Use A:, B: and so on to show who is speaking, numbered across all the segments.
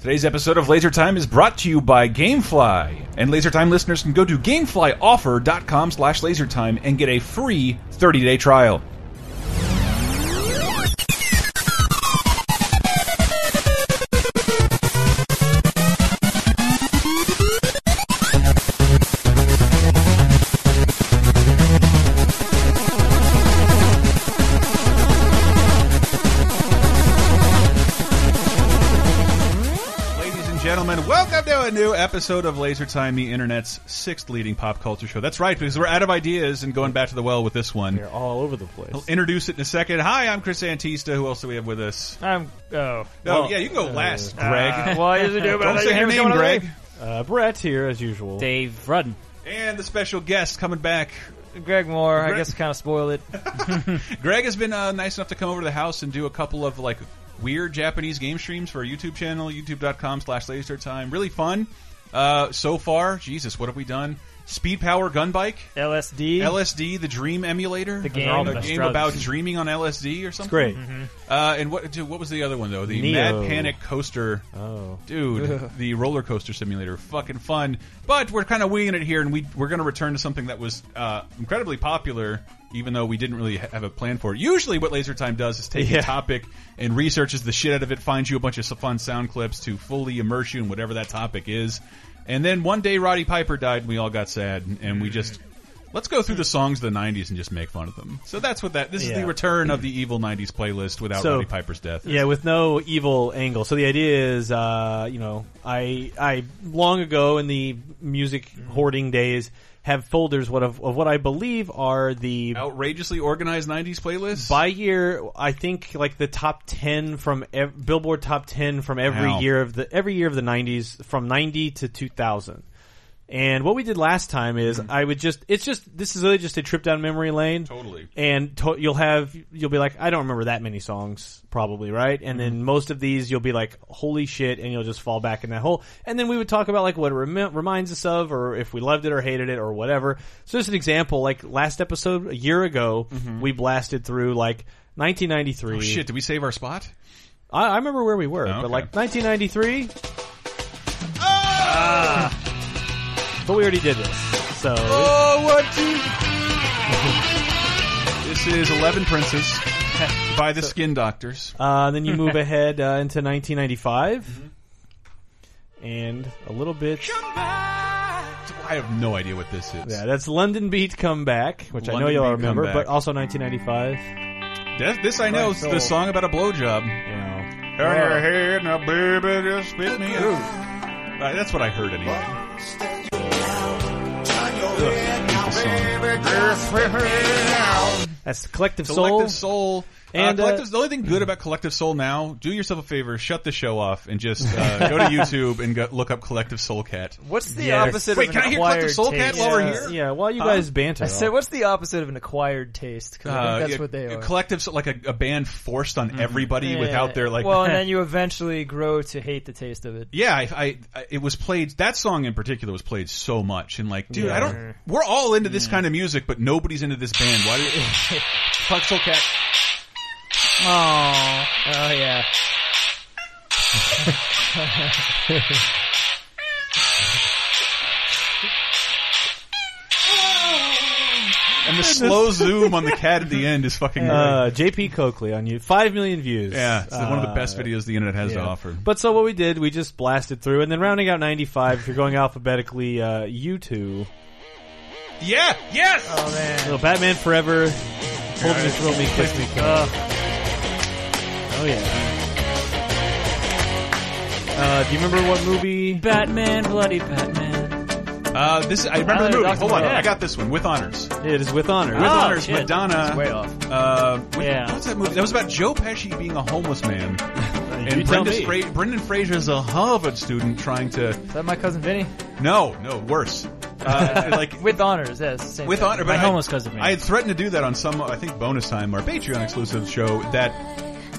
A: Today's episode of Laser Time is brought to you by GameFly. And Laser Time listeners can go to gameflyoffer.com slash lasertime and get a free 30-day trial. Ladies and gentlemen, welcome to a new episode of Laser Time, the internet's sixth leading pop culture show. That's right, because we're out of ideas and going back to the well with this one.
B: They're all over the place.
A: I'll introduce it in a second. Hi, I'm Chris Antista. Who else do we have with us?
C: I'm. Oh.
A: Oh, yeah, you can go last, Greg.
C: Uh, well, I usually do, but I
A: Don't
C: thought
A: say your
C: your hand
A: name,
C: was going
A: Greg.
C: other
B: Uh, Brett's here as usual.
D: Dave Rudden.
A: And the special guest coming back.
C: way. Greg Moore.
A: Greg-
C: I guess kind of spoil it.
A: Greg has been uh, nice enough to come over to the house and do a couple of like weird Japanese game streams for our YouTube channel, youtube.com slash lasertime. Really fun. Uh, so far, Jesus, what have we done? Speed Power Gun Bike,
C: LSD.
A: LSD, the Dream Emulator, the
C: game.
A: a
D: Best
A: game
D: drugs.
A: about dreaming on LSD or something.
B: Great.
A: Uh, and what dude, what was the other one though? The
B: Neo.
A: Mad Panic Coaster,
B: Oh.
A: dude, the roller coaster simulator, fucking fun. But we're kind of winging it here, and we we're going to return to something that was uh, incredibly popular, even though we didn't really ha- have a plan for it. Usually, what Laser Time does is take
B: Yeah.
A: a topic and researches the shit out of it, finds you a bunch of s- fun sound clips to fully immerse you in whatever that topic is. And then one day, Roddy Piper died, and we all got sad, and we just. Let's go through the songs of the '90s and just make fun of them. So that's what that. This is
B: Yeah.
A: the return of the evil '90s playlist without
B: So-
A: Roddy Piper's death.
B: Yeah, with no evil angle. So the idea is, uh, you know, I I long ago in the music
A: Mm-hmm.
B: hoarding days have folders what of, of what I believe are the
A: outrageously organized 90s playlist
B: by year. I think like the top ten from ev- Billboard top ten from every
A: Wow.
B: year of the every year of the '90s from '90 to 2000. And what we did last time is
A: Mm-hmm.
B: I would just it's just this is really just a trip down memory lane.
A: totally
B: and to- you'll have you'll be like i don't remember that many songs probably right and
A: Mm-hmm.
B: then most of these you'll be like holy shit and you'll just fall back in that hole and then we would talk about like what it remi- reminds us of or if we loved it or hated it or whatever so just an example like last episode a year ago we blasted through like 1993
A: Mm-hmm. oh, shit did we save our spot
B: I, I remember where we were
A: okay.
B: but like 1993 but we already did this so
A: Ah! oh what this is 11 princes by the skin doctors
B: Uh, then you move ahead uh, into 1995,
A: Mm-hmm.
B: and a little bit.
A: i have no idea what this is
B: Yeah, that's London Beat Comeback, which I know
A: London
B: you'll
A: Beat
B: remember,
A: Comeback.
B: but also 1995.
A: That- Oh. this i know is the
C: Soul.
A: song about a blowjob
B: You know.
A: turn your head now baby just spit me out Right, that's what i heard anyway Ugh, hate this song.
B: That's the Collective Soul.
A: Collective Soul.
B: And,
A: uh,
B: uh,
A: Collective- the only thing good about Collective Soul now, do yourself a favor, shut the show off and just uh, go to YouTube and go, look up Collective Soul Cat.
C: What's the
B: Yes.
C: opposite
A: Wait,
C: of
A: can
C: an
A: I hear
C: acquired
A: Collective Soul Cat
C: taste?
A: while we're
C: Yeah.
A: here?
B: Yeah, while you guys banter,
C: I said, what's the opposite of an acquired taste? Because I
A: Uh,
C: think that's
A: yeah,
C: what they are.
A: Collective, Soul- like a, a band forced on everybody
C: Yeah.
A: without their like.
C: Well, and then you eventually grow to hate the taste of it.
A: yeah, I, I, I- it was played. That song in particular was played so much, and like, dude, I
B: Yeah.
A: don't. We're all into
C: Mm.
A: this kind of music, but nobody's into this band. Why? Do, Collective Soul Cat.
C: Oh, oh yeah.
A: And the slow zoom on the cat at the end is fucking. great.
B: uh, JP Coakley on you. Five million views.
A: yeah, it's one of the
B: Uh,
A: best videos the internet has to
B: yeah.
A: offer.
B: But so what we did, we just blasted through, and then rounding out 95. if you're going alphabetically, uh, you two,
A: Yeah. Yes.
C: Oh man.
B: little Batman Forever, hold me, throw me, kiss me.
C: Uh,
B: Oh yeah. Uh, do you remember what movie?
C: Batman, bloody Batman.
A: Uh, this I remember
C: Now
A: the
C: they're
A: movie.
C: talking
A: Hold on,
C: about-
A: I got this one with honors. With
B: It is with honor.
C: Oh,
A: honors,
C: shit.
A: Madonna.
C: It's way off.
A: Uh, with,
C: Yeah.
A: What was that movie? That was about Joe Pesci being a homeless man,
B: you
A: and
B: tell
A: Brendan,
B: me.
A: Fra- Brendan Fraser's a Harvard student trying to.
C: Is that my cousin Vinny?
A: No, no, worse. Uh, like
C: With honors, yes. Same
A: with
C: thing.
A: honor, but
D: My
A: I-
D: homeless cousin Vinny.
A: I had threatened to do that on some, I think, bonus time, our Patreon exclusive show. That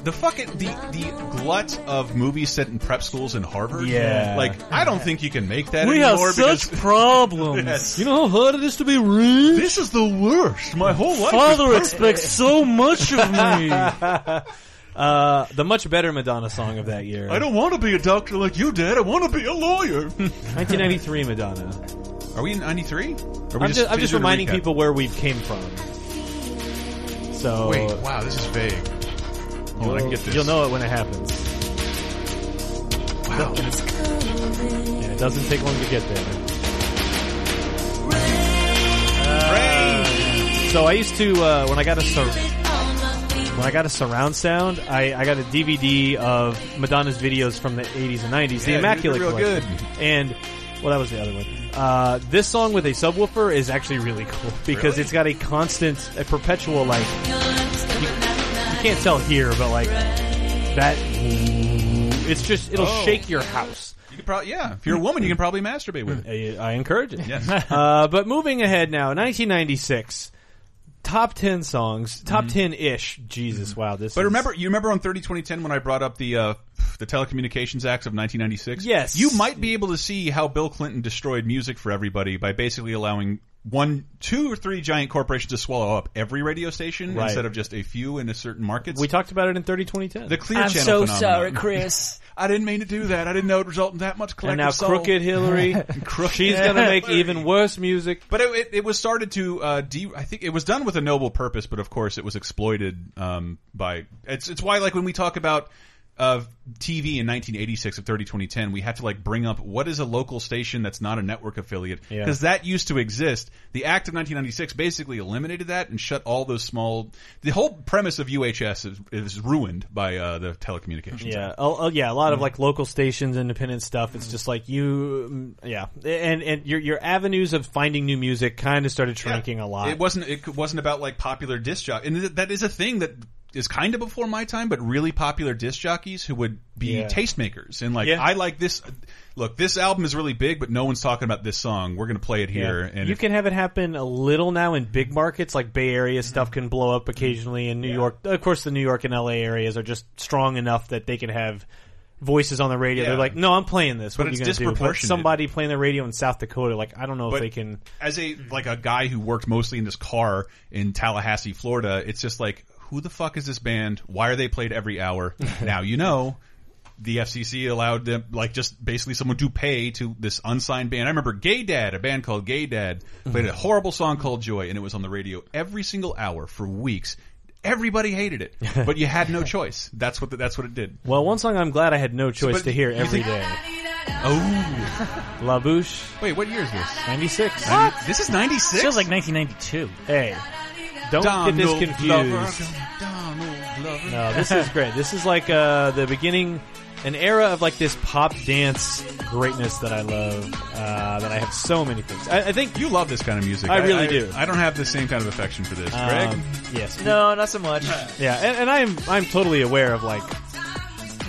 A: the fucking the the glut of movies set in prep schools in Harvard.
B: Yeah.
A: like I don't think you can make that
D: we have
A: anymore.
D: such
A: because,
D: problems.
A: Yes.
B: You know how hard it is to be rich.
A: this is the worst. My whole life. is
D: Father expects so much of me.
B: uh, Uh, the much better Madonna song of that year.
A: I don't want to be a doctor like you did. I want to be a lawyer.
B: 1993 Madonna.
A: Are we in '93?
B: I'm just, I'm just reminding people where we came from. So
A: Wait, wow, this is vague. Hold on, I can get this.
B: you'll know it when it happens.
A: Wow.
B: And it doesn't take long to get there. So I used to uh, when I got a sur- when I got a surround sound, I, I got a DVD of Madonna's videos from the 80s and 90s,
A: Yeah,
B: the
A: you
B: Immaculate
A: did real
B: Collection. And well, that was the other one. Uh, this song with a subwoofer is actually really cool because
A: Really?
B: it's got a constant, a perpetual like you, you can't tell here, but like that. It's just it'll
A: Oh.
B: shake your house.
A: You could probably, yeah. If you're a woman, you can probably masturbate with it.
B: I, I encourage it.
A: Yes.
B: Uh, but moving ahead now, 1996, top 10 songs, top 10 ish. Jesus, wow, this.
A: Mm-hmm. But
B: is-
A: remember, you remember on 30 2010 when I brought up the uh, the Telecommunications Acts of 1996?
B: Yes.
A: You might be able to see how Bill Clinton destroyed music for everybody by basically allowing one, two, or three giant corporations to swallow up every radio station
B: Right.
A: instead of just a few in a certain markets.
B: we talked about it in 30 2010.
A: the Clear
C: I'm
A: Channel
C: so
A: phenomenon.
C: sorry, Chris.
A: I didn't mean to do that. I didn't know it would result in that much
B: and
A: collective
B: now
A: soul.
B: crooked Hillary,
A: Crooked
B: she's gonna make
A: Hillary.
B: even worse music.
A: But it, it, it was started to uh, de. I think it was done with a noble purpose, but of course it was exploited um, by. It's it's why like when we talk about uh, TV in 1986 of 30 2010, we have to like bring up what is a local station that's not a network affiliate
B: Yeah.
A: because that used to exist. The Act of 1996 basically eliminated that and shut all those small. The whole premise of UHS is, is ruined by uh, the telecommunications.
B: Yeah, oh, oh, yeah, a
A: Mm.
B: lot of like local stations, independent stuff. It's just like you, mm, yeah, and and your your avenues of finding new music kind of started shrinking a lot.
A: It wasn't. It wasn't about like popular disc jock, and th- that is a thing that is kind of before my time, but really popular disc jockeys who would be
B: Yeah.
A: tastemakers and like
B: Yeah.
A: I like this. Look, this album is really big, but no one's talking about this song. We're gonna play it here,
B: Yeah.
A: and
B: you
A: if-
B: can have it happen a little now in big markets, like Bay Area stuff can blow up occasionally. In New York, of course, the New York and L.A. areas are just strong enough that they can have voices on the radio.
A: Yeah.
B: They're like, "No, I'm playing this.
A: But
B: what
A: it's
B: are you going to do?" But
A: disproportionate.
B: somebody playing the radio in South Dakota, like I don't know
A: But-
B: if they can.
A: as a like a guy who worked mostly in this car in Tallahassee, Florida, it's just like who the fuck is this band? Why are they played every hour? now you know. The FCC allowed them, like, just basically someone to pay to this unsigned band. I remember Gay Dad, a band called Gay Dad, played
C: Mm-hmm.
A: a horrible song called Joy, and it was on the radio every single hour for weeks. Everybody hated it, but you had no choice. That's what the, that's what it did.
B: Well, one song I'm glad I had no choice
A: But
B: to hear
A: you
B: every
A: think-
B: day.
A: Oh,
B: La Bouche,
A: wait, what year is this?
B: ninety six.
A: This is ninety six.
C: Feels like 1992.
B: Hey, don't get this confused. No, this is great. This is like uh, the beginning, an era of like this pop dance greatness that I love. Uh, that I have so many things. I, I think
A: You love this kind of music.
B: I really do.
A: I don't have the same kind of affection for this,
B: um,
A: Greg.
B: Yes.
C: No, not so much.
B: Yeah, and, and I'm I'm totally aware of like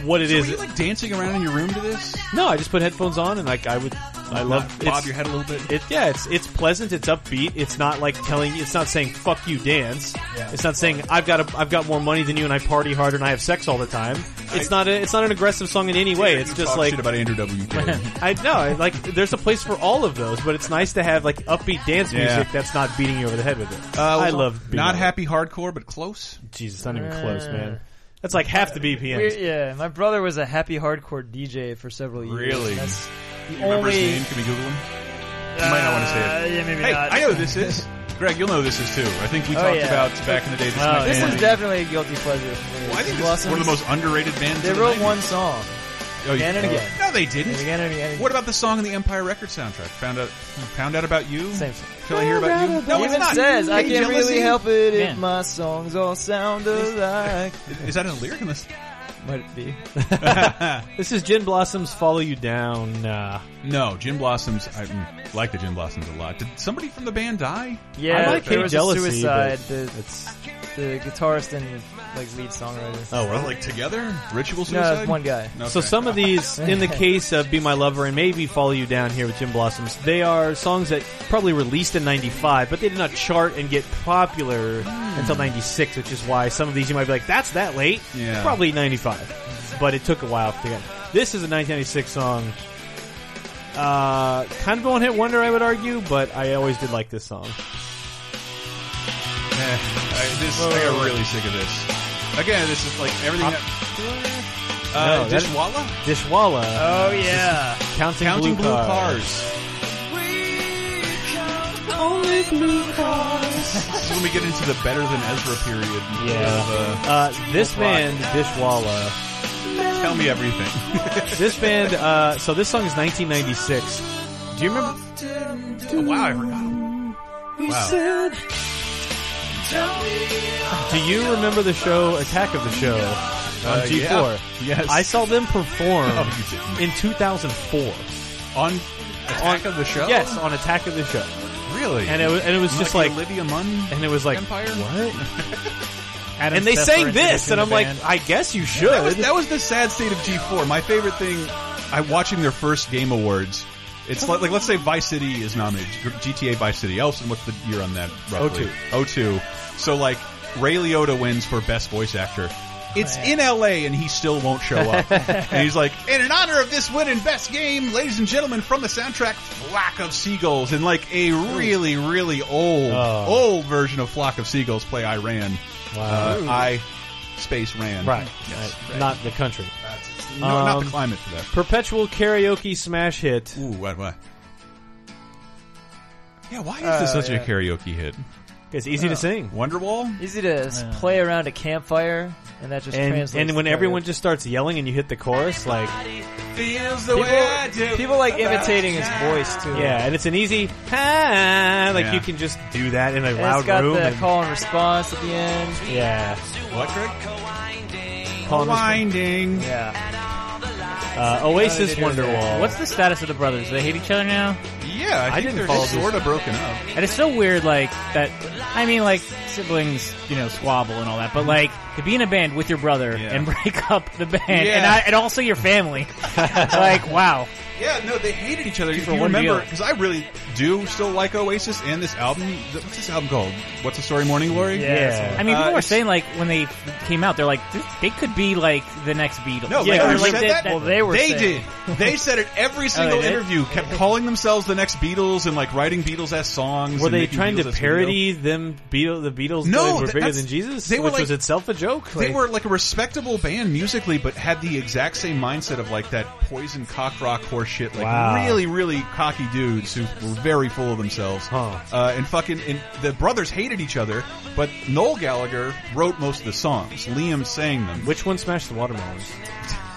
B: what it
A: Were
B: is.
A: you like dancing around in your room to this?
B: no, I just put headphones on and like I would. I love
A: bob
B: it's-
A: your head a little bit.
B: It, yeah, it's it's pleasant. It's upbeat. It's not like telling. It's not saying "fuck you, dance." It's not saying "I've got a, I've got more money than you and I party harder and I have sex all the time." It's not a, it's not an aggressive song in any way. It's
A: You
B: just
A: talk
B: like
A: shit about Andrew WK.
B: I know, I- like there's a place for all of those, but it's nice to have like upbeat dance
A: Yeah.
B: music that's not beating you over the head with it. I love being
A: Uh, not
B: over-
A: happy hardcore, but close.
B: Jesus, not even close,
C: Uh,
B: man. That's like half the
C: We're-
B: BPM.
C: yeah, my brother was a happy hardcore DJ for several years.
A: Really?
C: That's the
A: Remember
C: only.
A: his name? Can we Google him? You might not want to say it.
C: Uh, yeah, maybe
A: hey,
C: not.
A: I know who this is. Greg, you'll know who this is too. I think we
C: Oh,
A: talked
C: yeah.
A: about back in the day. This, might
C: This
A: be
C: is
A: one-
C: definitely a guilty pleasure for me.
A: Well, I think
C: The
A: this is one of
C: Blossoms,
A: the most underrated bands.
C: They
A: of the
C: wrote
A: 90s.
C: one song.
A: Oh, you-
C: Again and again.
A: No, they didn't.
C: Again and again. and
A: What about the song in the Empire Records soundtrack? Found out, found out about you.
C: Same song.
A: Shall I hear about you? No, it's
C: It even
A: not.
C: says, I
A: Hey,
C: can't really
A: jealousy.
C: help it if
D: Man.
C: my songs all sound alike.
A: Is that a lyric in this?
C: Might it be?
B: This is Gin Blossoms "Follow You Down." Uh,
A: No, Gin Blossoms. I mm, like the Gin Blossoms a lot. Did somebody from the band die?
C: Yeah,
B: I like
C: there
B: Hate
C: was
B: Jealousy,
C: a suicide.
B: but
C: The,
B: it's
C: the guitarist and like lead songwriter.
B: oh well.
A: Like together? Ritual
C: No,
A: suicide.
C: it's one guy.
A: Okay.
B: So some of these, in the case of "Be My Lover" and maybe "Follow You Down" here with Jim Blossoms, they are songs that probably released in '95, but they did not chart and get popular until '96, which is why some of these you might be like, "That's that late."
A: Yeah.
B: Probably '95, but it took a while to get. This is a 1996 song. Uh, kind of a one-hit wonder, I would argue, but I always did like this song.
A: Eh, I, this, I got really sick of this. Again, this is like everything. That, uh,
B: No, that-
A: Dishwalla?
B: Dishwalla.
C: Oh yeah.
B: counting,
A: Counting
B: blue,
A: blue
B: cars.
A: cars. This is when we get into the better than Ezra period.
B: Yeah. Uh, this
A: Black.
B: band, Dishwalla.
A: Of, uh, tell me everything.
B: This band, uh, so this song is 1996. Do you remember?
A: Oh, wow, I forgot. Wow.
B: Do you remember the show Attack of the Show on
A: Uh,
B: G4?
A: yeah. Yes.
B: I saw them perform
A: Oh, you didn't.
B: in 2004.
A: On Attack of the Show?
B: Yes, on Attack of the Show,
A: Really?
B: and it was, and it was just like,
A: Olivia Munn?
B: and it was like,
A: Empire?
B: what?
D: Adam
B: And they
D: Sessler
B: sang
D: introducing
B: this, and
D: the
B: I'm like,
D: band.
B: I guess you
A: That was,
B: should.
A: that was the sad state of G4. My favorite thing, I watching their first Game Awards. It's like, like let's say Vice City is nominated, G- GTA Vice City. Elson, what's the year on that? Roughly? 02. 02. So like Ray Liotta wins for best voice actor. It's in LA and he still won't show up. and he's like, and in honor of this win and best game, ladies and gentlemen, from the soundtrack Flock of Seagulls, and like a really, really old,
B: Oh.
A: old version of Flock of Seagulls play I Ran. Uh, I space ran.
B: Right,
A: Yes.
B: right, not the country.
A: No, not the
B: Um,
A: climate for that.
B: Perpetual karaoke smash hit.
A: Ooh, why, why? Yeah, why is
C: Uh,
A: this such
C: yeah.
A: a karaoke hit?
B: It's easy
A: Oh.
B: to sing.
A: Wonderwall?
C: Easy to s- play around a campfire, and that just
B: And,
C: translates.
B: and
C: to
B: when
C: karaoke.
B: everyone just starts yelling and you hit the chorus, like
A: Feels the
C: people, people like imitating his voice too.
B: Yeah, and it's an easy ah, like
A: Yeah.
B: you can just do that in a
C: And
B: loud
C: it's got
B: room.
C: the
B: and-
C: call and response at the end.
B: yeah,
A: What, Greg?
B: Call and response.
A: Winding.
C: Yeah.
B: Uh, Oasis Wonderwall.
D: What's the status of the brothers? Do they hate each other now?
A: Yeah, I, think
B: didn't
A: they're
B: follow
A: just
B: this.
A: sort of broken up.
D: And it's so weird, like, that, I mean, like, siblings, you know, squabble and all that, but like, to be in a band with your brother
A: Yeah.
D: and break up the band, and,
A: Yeah.
D: I, and also your family, like, wow.
A: Yeah, no, they hated each other. If
D: For
A: you
D: one
A: remember,
D: deal.
A: because I really do still like Oasis and this album. Th- What's this album called? What's the story, Morning Glory?
B: Yeah.
D: I mean,
A: Uh,
D: people were
A: it's-
D: saying, like, when they came out, they're like, this, they could be, like, the next Beatles.
A: No,
D: yeah,
A: they
D: or,
A: never
D: like,
A: said
D: the-
A: that.
C: Well, they were.
A: They
C: saying-
A: did. They said it
B: Oh,
A: every single
D: did?
A: interview. Kept calling themselves the next Beatles and like writing Beatles-esque songs.
B: were
A: and
B: they
A: making
B: trying to
A: Beatles-esque video.
B: parody them? Beatles, the Beatles
A: No,
B: doing were
A: th-
B: bigger
A: that's-
B: than Jesus,
A: they were
B: which
A: like-
B: was itself a joke.
A: They
B: like-
A: were like a respectable band musically, but had the exact same mindset of like that poison cock rock horse shit. Like
B: Wow.
A: really, really cocky dudes who were very full of themselves.
B: Huh.
A: Uh, and fucking, and the brothers hated each other, but Noel Gallagher wrote most of the songs. Liam sang them.
B: Which one smashed the watermelons?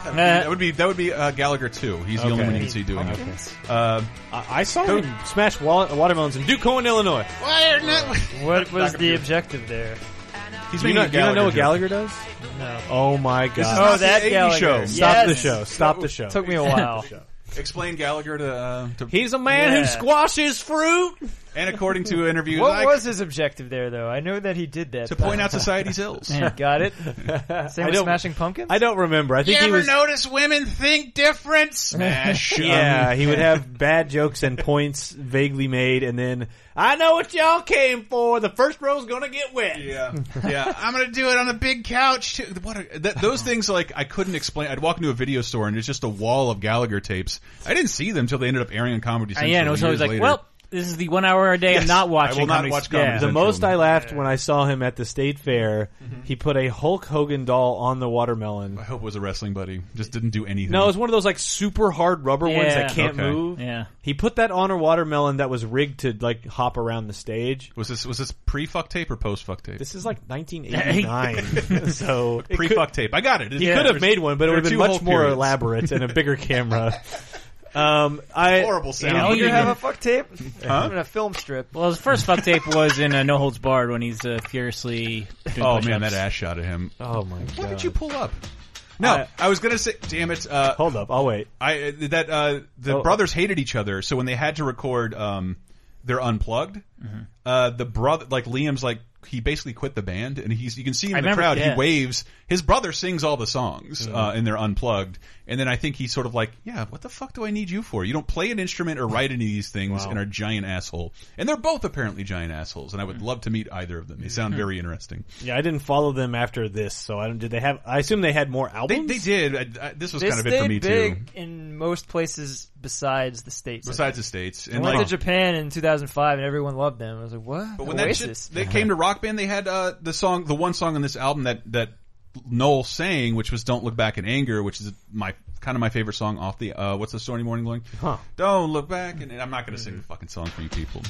A: that, would be, that would be that would be uh, Gallagher too. He's the only
B: Okay.
A: one you can see doing it. Uh,
B: I, I saw
A: Who-
B: him smash wall- watermelons in Dukeoin, Illinois.
A: why are not?
D: What
A: was the
D: objective there?
A: He's
B: Do you, know,
A: making
B: you don't know what
A: joke.
B: Gallagher does?
D: No.
B: Oh my god!
A: is
C: Oh,
A: not the
C: that
A: 80
C: Gallagher.
A: show.
B: Stop
C: Yes.
B: the show! Stop the show!
C: Took me a while.
A: Explain Gallagher to. Uh, to
B: He's a man who
D: Yeah.
B: squashes fruit.
A: and according to interviews,
C: what
A: I-
C: was his objective there, though? I know that he did that.
A: to point out society's ills.
C: Got it.
B: I
C: Same with
B: don't-
C: smashing pumpkins.
B: I don't remember. I think he was. Um,
A: notice women think different? Smash.
B: Yeah, he would have bad jokes and points vaguely made, and then I know what y'all came for. The first row's gonna get wet.
A: Yeah, yeah. I'm gonna do it on a big couch. Too. What? Are, th those things like I couldn't explain. I'd walk into a video store and there's just a wall of Gallagher tapes. I didn't see them until they ended up airing on Comedy Central.
D: yeah, and it was
A: years
D: always like,
A: later.
D: well, this is the one hour a day
A: Yes,
D: I'm not watching.
A: I will not
D: Comedy-
A: watch Comedy
D: yeah.
B: Um, The
A: Central.
B: most I laughed when I saw him at the state fair,
A: Mm-hmm.
B: he put a Hulk Hogan doll on the watermelon.
A: I hope it was a wrestling buddy. Just didn't do anything.
B: No, it was one of those like super hard rubber ones that
D: Yeah.
B: can't
A: Okay.
B: move.
D: Yeah.
B: He put that on a watermelon that was rigged to like hop around the stage.
A: was this was this pre fuck tape or post fuck tape?
B: This is like 1989, so it
A: Pre
B: could-
A: fuck tape. I got it.
B: He could have made one, but it
A: there are
B: would have been
A: two
B: much
A: whole
B: more
A: periods.
B: elaborate and a bigger camera. Um, I
A: Horrible sound.
B: Yeah,
D: Oh,
C: You
D: you
C: have
D: did.
C: a fuck tape? I'm in a film strip.
D: Well, his first fuck tape was in uh, No Holds Barred when he's uh, furiously. Doing
A: Oh
D: push-ups.
A: man, that ass shot at him.
B: oh my god!
A: Why did you pull up? No,
B: I-
A: I, was gonna say, damn it. Uh,
B: Hold up, I'll wait.
A: I uh, that uh, the
B: Oh.
A: brothers hated each other, so when they had to record, um, they're unplugged. Uh, the brother, like Liam's, like he basically quit the band, and he's you can see in
D: I
A: the
D: remember,
A: crowd
D: yeah.
A: he waves. His brother sings all the songs, uh, and they're unplugged. And then I think he's sort of like, yeah, what the fuck do I need you for? You don't play an instrument or write any of these things, and are a giant asshole. And they're both apparently giant assholes, and I would love to meet either of them. They sound very interesting.
B: Yeah, I didn't follow them after this, so I don't. Did they have? I assume they had more
A: They,
B: albums.
A: they did. I, I, this was
C: They
A: kind of it
C: stayed
A: for me
C: big
A: too.
C: in most places besides the states. I
A: Besides the states, and
C: think. I went
A: like
C: to Japan in 2005 and everyone loved them. I was like, what?
A: But when
C: Oasis.
A: that shit, they came to Rock Band, they had uh, the song, the one song on this album that that Noel sang, which was "Don't Look Back in Anger," which is my kind of my favorite song off the. Uh, what's the Sony Morning Glory?
B: Huh.
A: Don't look back, and, and I'm not going to sing the fucking song for you people.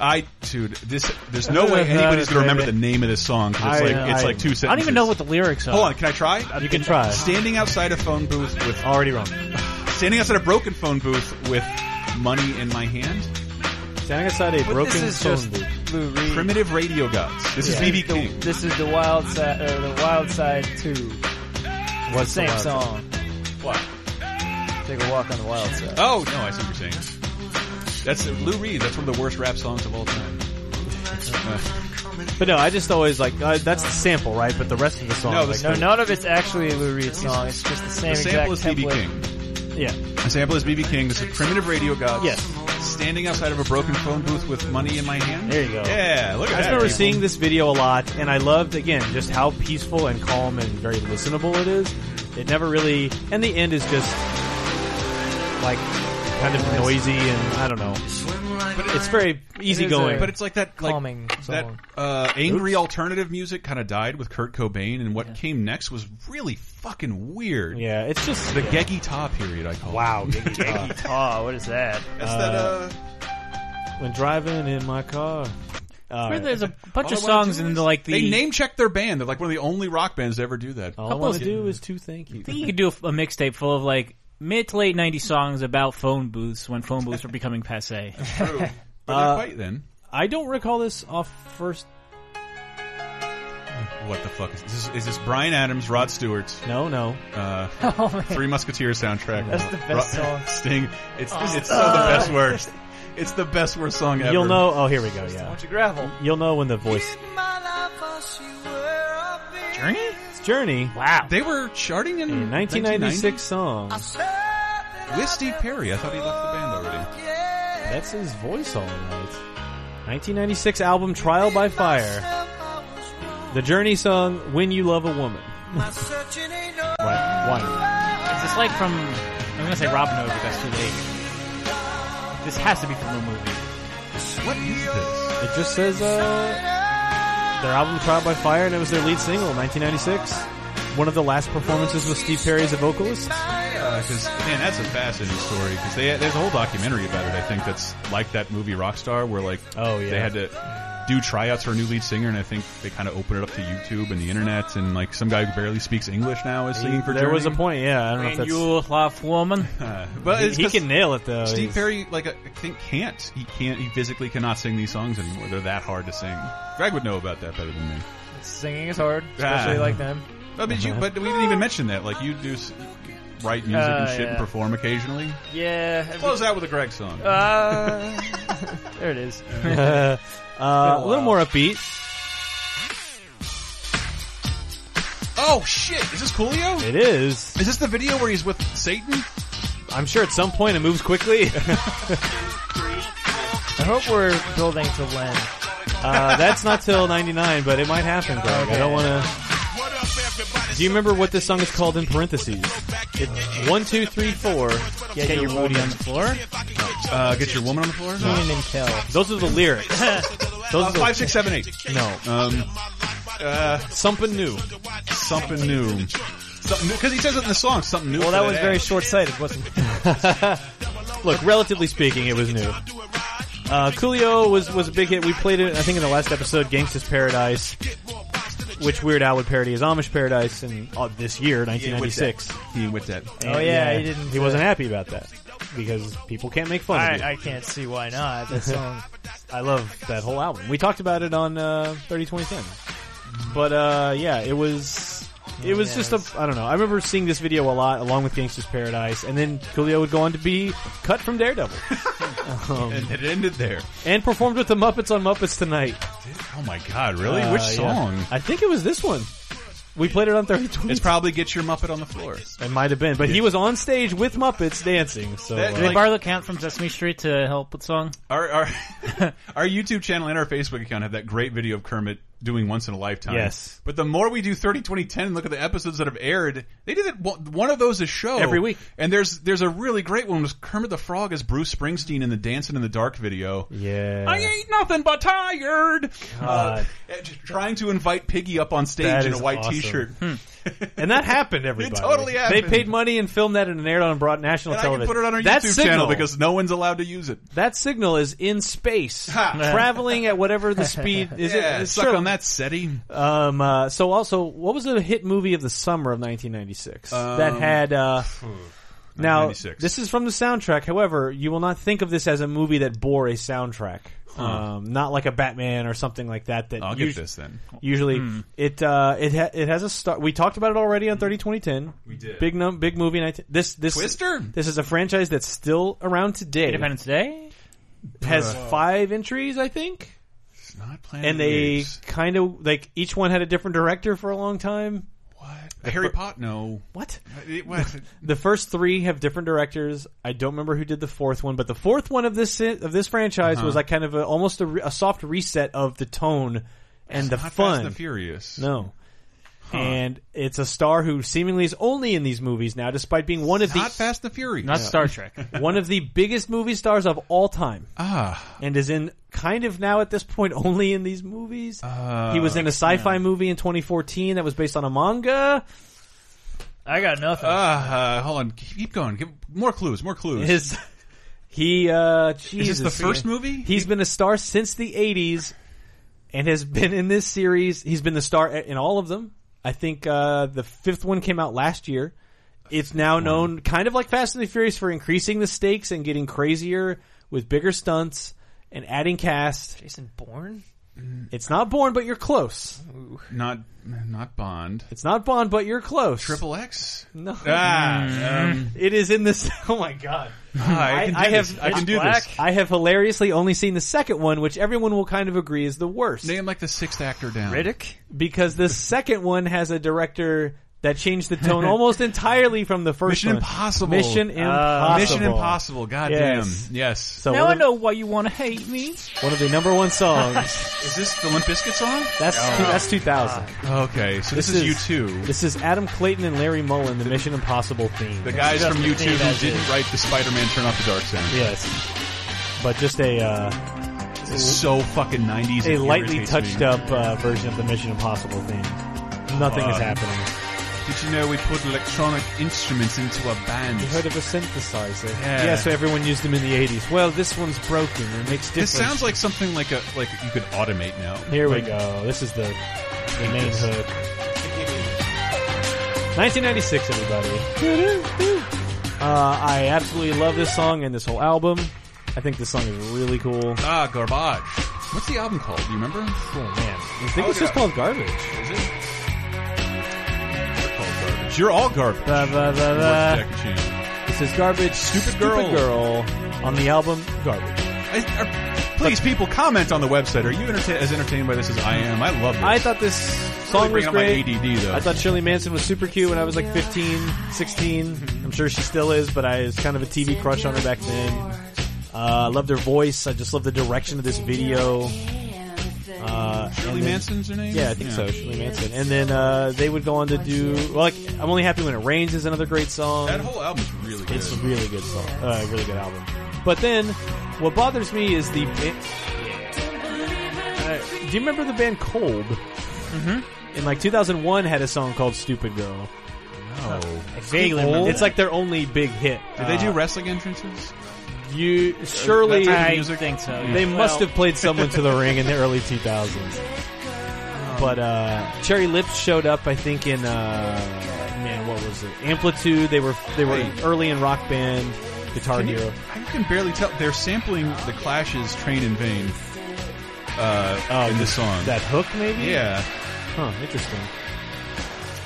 A: I dude, this there's no way anybody's going to remember the name of this song 'cause
B: I-
A: it's like it's
B: I-
A: like two sentences.
D: I don't even know what the lyrics are.
A: Hold on, can I try?
B: You can try.
A: Standing outside a phone booth with
B: Already wrong.
A: standing outside a broken phone booth with money in my hand.
B: Standing outside a
C: But
B: broken
C: this is
B: phone
C: just
B: booth.
C: Lou Reed.
A: Primitive radio gods. This
C: This
A: is
C: is
A: BB
C: the-
A: King.
C: This is the Wild Side, or the Wild Side Two.
B: What's
C: Same
B: the loud-
C: song.
A: What?
C: Take a walk on the Wild Side.
A: Oh no, I see what you're saying. That's uh, Lou Reed. That's one of the worst rap songs of all time. Uh,
B: But no, I just always like uh, that's the sample, right? But the rest of the song,
A: No, the
B: like,
C: No, none of it's actually a Lou Reed song. It's just the same
A: the sample
C: exact
A: is BB
C: template.
A: King.
B: yeah,
A: The sample is BB King. This is primitive radio gods.
B: Yes.
A: Standing outside of a broken phone booth with money in my hand.
B: There you go.
A: Yeah, look at that.
B: I just remember
A: people.
B: seeing this video a lot, and I loved again just how peaceful and calm and very listenable it is. It never really, and the end is just like kind of noisy, and I don't know. It's very easygoing.
C: a-
A: But it's like that like,
C: Calming
A: That
C: song.
A: uh, angry alternative music kind of died with Kurt Cobain, and what came next was really fucking weird.
B: yeah, it's just
A: The Geggy Ta period, I call
B: wow. Giggy
A: it.
B: Pop.
C: Oh, what is that?
A: That's that, uh,
B: when driving in my car. Uh,
D: Where there's a
A: all
D: bunch
A: I
D: of
A: wanna
D: songs
A: do
D: in
A: is-
D: the like the
A: They name checked their band. They're like one of the only rock bands to ever do that.
B: all I
D: couple
B: want
D: of-
B: to do is to thank you.
D: I think you could do a, a mixtape full of like mid to late 90s songs about phone booths when phone booths were becoming passe.
A: True. But they're
B: Uh,
A: right then.
B: I don't recall this off first.
A: What the fuck is this? Is this Brian Adams, Rod Stewart,
B: No, no.
A: uh,
C: Oh man.
A: Three Musketeers soundtrack?
C: That's the best
A: Ro-
C: song.
A: Sting. It's it's so the best worst. It's the best worst song ever.
B: You'll know. Oh, here we go. Yeah,
C: Bunch of gravel.
B: you'll know when the voice.
D: Journey?
B: It's Journey,
D: Wow.
A: They were charting in
B: a 1996 song.
A: with Steve Perry. I thought he left the band already.
B: That's his voice, all right. 1996 album Trial by Fire. The Journey song "When You Love a Woman." right, one.
D: Is this like from, I'm going to say Robin Hood, but that's too late. This has to be from a movie.
A: What is this?
B: It just says uh, their album Trial by Fire, and it was their lead single, 1996. One of the last performances with Steve Perry as a vocalist.
A: Because Uh, man, that's a fascinating story. Because they there's a whole documentary about it. I think that's like that movie Rockstar, where like
B: Oh, yeah.
A: they had to do tryouts for a new lead singer, and I think they kind of opened it up to YouTube and the internet, and like some guy who barely speaks English now is singing for
B: there was a
A: Journey.
B: point, yeah. I don't know if
D: When
B: that's
D: you love woman.
A: Uh, but it's
B: he
A: 'cause
B: can nail it though.
A: Steve
B: He's-
A: Perry, like uh, I think, can't. He can't. He physically cannot sing these songs anymore. They're that hard to sing. Greg would know about that better than me.
C: Singing is hard,
A: Ah.
C: especially like them.
A: But, but,
B: Uh-huh.
A: you, but we didn't even mention that. Like you do s- write music and
C: Uh,
A: shit and
C: yeah.
A: perform occasionally.
C: Yeah. every-
A: Close out with a Greg song.
C: Uh, there it is.
B: uh, a little
C: while.
B: more upbeat.
A: oh shit! Is this Coolio?
B: It is.
A: Is this the video where he's with Satan?
B: I'm sure at some point it moves quickly.
C: I hope we're building to win.
B: Uh, that's not till '99, but it might happen, Greg. I don't want to. Do you remember what this song is called in parentheses? It, one, two, three, four.
C: Get, your,
D: Booty on the floor?
A: Uh, get your woman on the floor.
C: Keenan and Kel.
B: Those are the lyrics.
A: Uh,
B: Those are the,
A: five, six, seven, eight.
B: no
A: Um, uh,
B: something new.
A: something new. Because he says it in the song. Something new.
C: Well, that was very
A: short.
C: short-sighted, wasn't it?
B: Look, relatively speaking, it was new. Uh, Coolio was was a big hit. We played it, I think, in the last episode, "Gangsta's Paradise," which Weird Al would parody as "Amish Paradise" in uh, this year, 1996.
A: He whipped that.
C: Oh,
B: And,
C: yeah, he didn't,
B: He wasn't happy about that because people can't make fun of it.
C: I, I can't see why not. That song.
B: I love that whole album. We talked about it on uh, 30 2010. But uh, yeah, it was it was
C: Yeah,
B: just a I don't know. I remember seeing this video a lot along with Gangster's Paradise and then Coolio would go on to be cut from Daredevil
A: And it ended there.
B: and performed with the Muppets on Muppets Tonight.
A: Oh my god! Really?
B: Uh,
A: Which
B: yeah.
A: song?
B: I think it was this one. We played it on 30
A: It's probably Get Your Muppet on the Floor.
B: it might have been, but he was on stage with Muppets dancing. So
A: That-
B: uh,
D: Did they
A: Like-
D: borrow the count from Sesame Street to help with song?
A: Our, our, our YouTube channel and our Facebook account have that great video of Kermit doing once in a lifetime.
B: Yes.
A: But the more we do 30, 20, 10 and look at the episodes that have aired, they did it one one of those a show
B: Every week.
A: And there's there's a really great one was Kermit the Frog as Bruce Springsteen in the Dancing in the Dark video.
B: Yeah.
A: I ain't nothing but tired. Uh,
B: God.
A: trying to invite Piggy up on stage
B: That
A: in a
B: is
A: white
B: awesome. Hmm.
A: T-shirt.
B: And that happened, everybody.
A: totally happened.
B: They paid money and filmed that and aired on broad national
A: And I can
B: television.
A: put it on our
B: that
A: YouTube
B: signal,
A: channel because no one's allowed to use it.
B: that signal is in space,
A: Ha.
B: traveling at whatever the speed is.
A: yeah,
B: it,
A: suck
B: sure.
A: on that SETI.
B: Um, uh, so also, what was the hit movie of the summer of 1996
A: Um,
B: that had? Uh, now
A: 1996.
B: this is from the soundtrack. However, you will not think of this as a movie that bore a soundtrack. Um, not like a Batman or something like that. That
A: I'll get
B: usu-
A: this Hmm. then.
B: Usually, it uh, it ha- it has a star. We talked about it already on 30 2010.
A: Hmm. We did.
B: big num big movie. 19- this this
A: Twister?
B: This is a franchise that's still around today.
D: Independence Day.
B: has five entries, I think
A: It's not Planet
B: and
A: of the
B: they
A: Apes.
B: kind of like each one had a different director for a long time.
A: what Harry Potter? No,
B: What?
A: It- what?
B: The first three have different directors. I don't remember who did the fourth one, but the fourth one of this of this franchise
A: Uh-huh.
B: was like kind of a, almost a, re- a soft reset of the tone and the
A: not Fast
B: fun.
A: and the Furious.
B: no. And it's a star who seemingly is only in these movies now, despite being one of
A: not
B: the
A: Fast and the Furious.
D: Not Star Trek.
B: one of the biggest movie stars of all time,
A: ah,
B: and is in kind of now at this point only in these
A: Uh,
B: movies. he was in a sci-fi movie in 2014 that was based on a manga.
D: I got nothing.
A: ah. uh, hold on, keep keep going. Give more clues. More clues.
B: His he uh
A: Is this
B: Jesus.
A: the first movie?
B: He's been a star since the 80s and has been in this series. He's been the star in all of them. I think uh the fifth one came out last year. It's now known kind of like Fast and the Furious for increasing the stakes and getting crazier with bigger stunts and adding cast.
C: Jason Bourne?
B: It's not Bourne, but you're close.
A: not not Bond.
B: It's not Bond, but you're close.
A: Triple X.
B: No.
A: Ah, um,
B: It is in this. Oh my god.
A: ah, I, can do
B: I have-
A: this. I can do
D: Black.
A: this.
B: I have hilariously only seen the second one, which everyone will kind of agree is the worst.
A: Name like the sixth actor down.
D: Riddick.
B: Because the second one has a director that changed the tone almost entirely from the first
A: Mission
B: one.
A: Impossible.
B: Mission
D: Ah.
B: Impossible.
A: Mission Impossible. God
B: Yes.
A: damn. Yes.
B: So
D: Now I
B: one, of,
D: know why you want to hate me.
B: one of the number one songs.
A: is this the Limp Bizkit song?
B: That's two, that's 2000.
A: Okay, so Ah, this,
B: This
A: is,
B: is-
A: U2.
B: This is Adam Clayton and Larry Mullen, the Mission Impossible theme.
A: the guys from
C: Justin
A: U2
C: Bieber
A: who didn't write the Spider-Man Turn Off the Dark sound.
B: yes. But just a uh,
A: It's so fucking 90s.
B: a
A: it
B: lightly
A: irritates
B: touched
A: me.
B: up uh, version of the Mission Impossible theme. Nothing is
A: Fuck.
B: happening.
A: Did you know we put electronic instruments into a band?
B: You heard of a synthesizer?
A: Yeah.
B: so everyone used them in the '80s. Well, this one's broken. It makes difference.
A: This sounds like something like a like you could automate now.
B: Here we go. This is the, the main hook. 1996, everybody. Uh, I absolutely love this song and this whole album. I think this song is really cool.
A: Ah, garbage. What's the album called? Do you remember?
B: Oh man, I think
A: Oh,
B: it's just
A: yeah.
B: called Garbage.
A: Is it? You're called garbage. You're all garbage.
B: Ba, ba, ba, ba.
A: Jack and Chan.
B: This is Garbage. Stupid
A: Girl.
B: Girl on the album Garbage.
A: I, are, please, people, comment on the website. Are you entertain, as entertained by this as I am? I love this.
B: I thought this song
A: really
B: was great.
A: bringing up my ADD though.
B: I thought Shirley Manson was super cute when I was like 15, 16. I'm sure she still is, but I was kind of a TV crush on her back then. Uh, I loved her voice. I just love the direction of this video. Uh,
A: Shirley
B: and then-
A: Manson's her name.
B: Yeah, I think so. Shirley Manson. And then uh, they would go on to do well, like I'm only happy when it rains is another great song.
A: That whole album's really good.
B: It's a really good song, uh, really good album. But then, what bothers me is the. Ba- Uh, do you remember the band Cold? Mm-hmm. In like 2001, had a song called "Stupid Girl."
A: oh.
D: I vaguely remember.
B: It's like their only big hit. Uh,
A: Did they do
B: Ah.
A: wrestling entrances?
B: You surely
A: That's-
D: I
A: music?
D: think so.
B: they
D: Well,
B: must have played someone to the ring in the early 2000s.
A: Um,
B: But uh, Cherry Lips showed up, I think, in uh, man, what was it? Amplitude. They were they were
A: Hey.
B: early in rock band, Guitar
A: Can you-
B: Hero.
A: I can barely tell. They're sampling the Clash's "Train in Vain" uh, in this song.
B: Oh, That hook, maybe.
A: yeah,
B: Huh, interesting.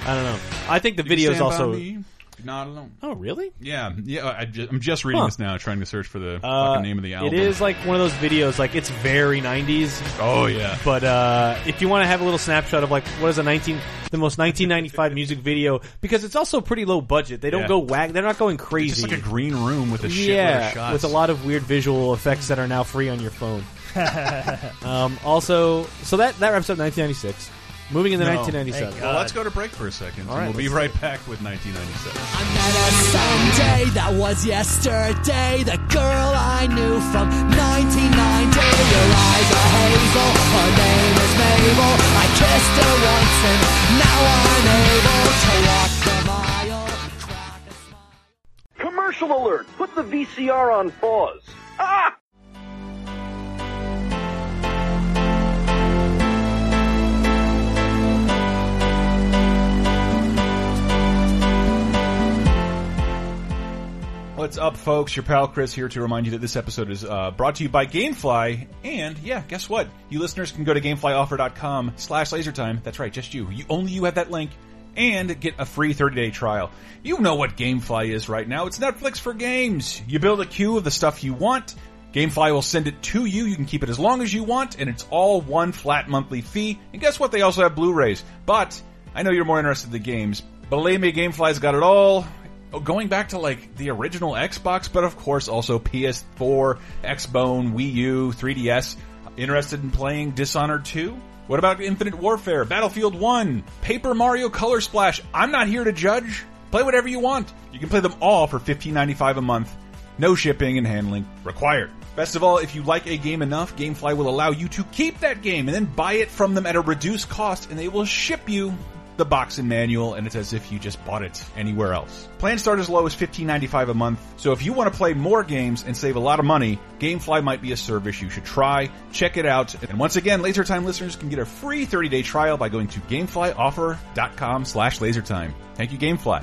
B: I don't know. I think the
A: You
B: video is
A: stand by
B: also
A: me? Not alone.
B: Oh, really?
A: Yeah, yeah. I ju- I'm just reading
B: Huh.
A: this now, trying to search for the
B: Uh,
A: fucking name of the album.
B: It is like one of those videos. Like it's very '90s,
A: Oh yeah.
B: but uh, if you want to have a little snapshot of like what is a 19, the most 1995 music video, because it's also pretty low budget. They don't
A: Yeah.
B: go whack. They're not going crazy.
A: It's just like a green room with a shitload of
B: yeah,
A: shots.
B: with a lot of weird visual effects that are now free on your phone. um, also, so that that wraps up 1996. Moving into
A: No.
C: Thank
B: 1997.
A: Well, let's go to break for a second, and
B: right,
A: we'll be
B: let's
A: right back with 1997.
E: Met her someday, that was yesterday. The girl I knew from 1990. Her eyes are hazel, her name is Mabel. I kissed her once and now I'm able to walk the mile. crack a smile.
F: Commercial alert! Put the VCR on pause. Ah!
A: What's up, folks? Your pal Chris here to remind you that this episode is uh, brought to you by GameFly. And yeah, guess what? You listeners can go to GameFlyOffer.com slash LaserTime. That's right, just you. You only you have that link. And get a free 30-day trial. You know what GameFly is right now. It's Netflix for games. You build a queue of the stuff you want. GameFly will send it to you. You can keep it as long as you want, and it's all one flat monthly fee. And guess what? They also have Blu-rays. But I know you're more interested in the games. Believe me, GameFly's got it all Oh, going back to like the original Xbox, but of course also PS4, Xbone, Wii U, 3DS. Interested in playing Dishonored 2? What about Infinite Warfare, Battlefield 1, Paper Mario Color Splash? I'm not here to judge. Play whatever you want. You can play them all for $15.95 a month. No shipping and handling required. Best of all, if you like a game enough, GameFly will allow you to keep that game and then buy it from them at a reduced cost and they will ship you the box and manual and it's as if you just bought it anywhere else. Plans start as low as $15.95 a month, so if you want to play more games and save a lot of money, GameFly might be a service you should try. Check it out. And once again, LaserTime listeners can get a free 30-day trial by going to GameFlyOffer.com slash LaserTime. Thank you, GameFly.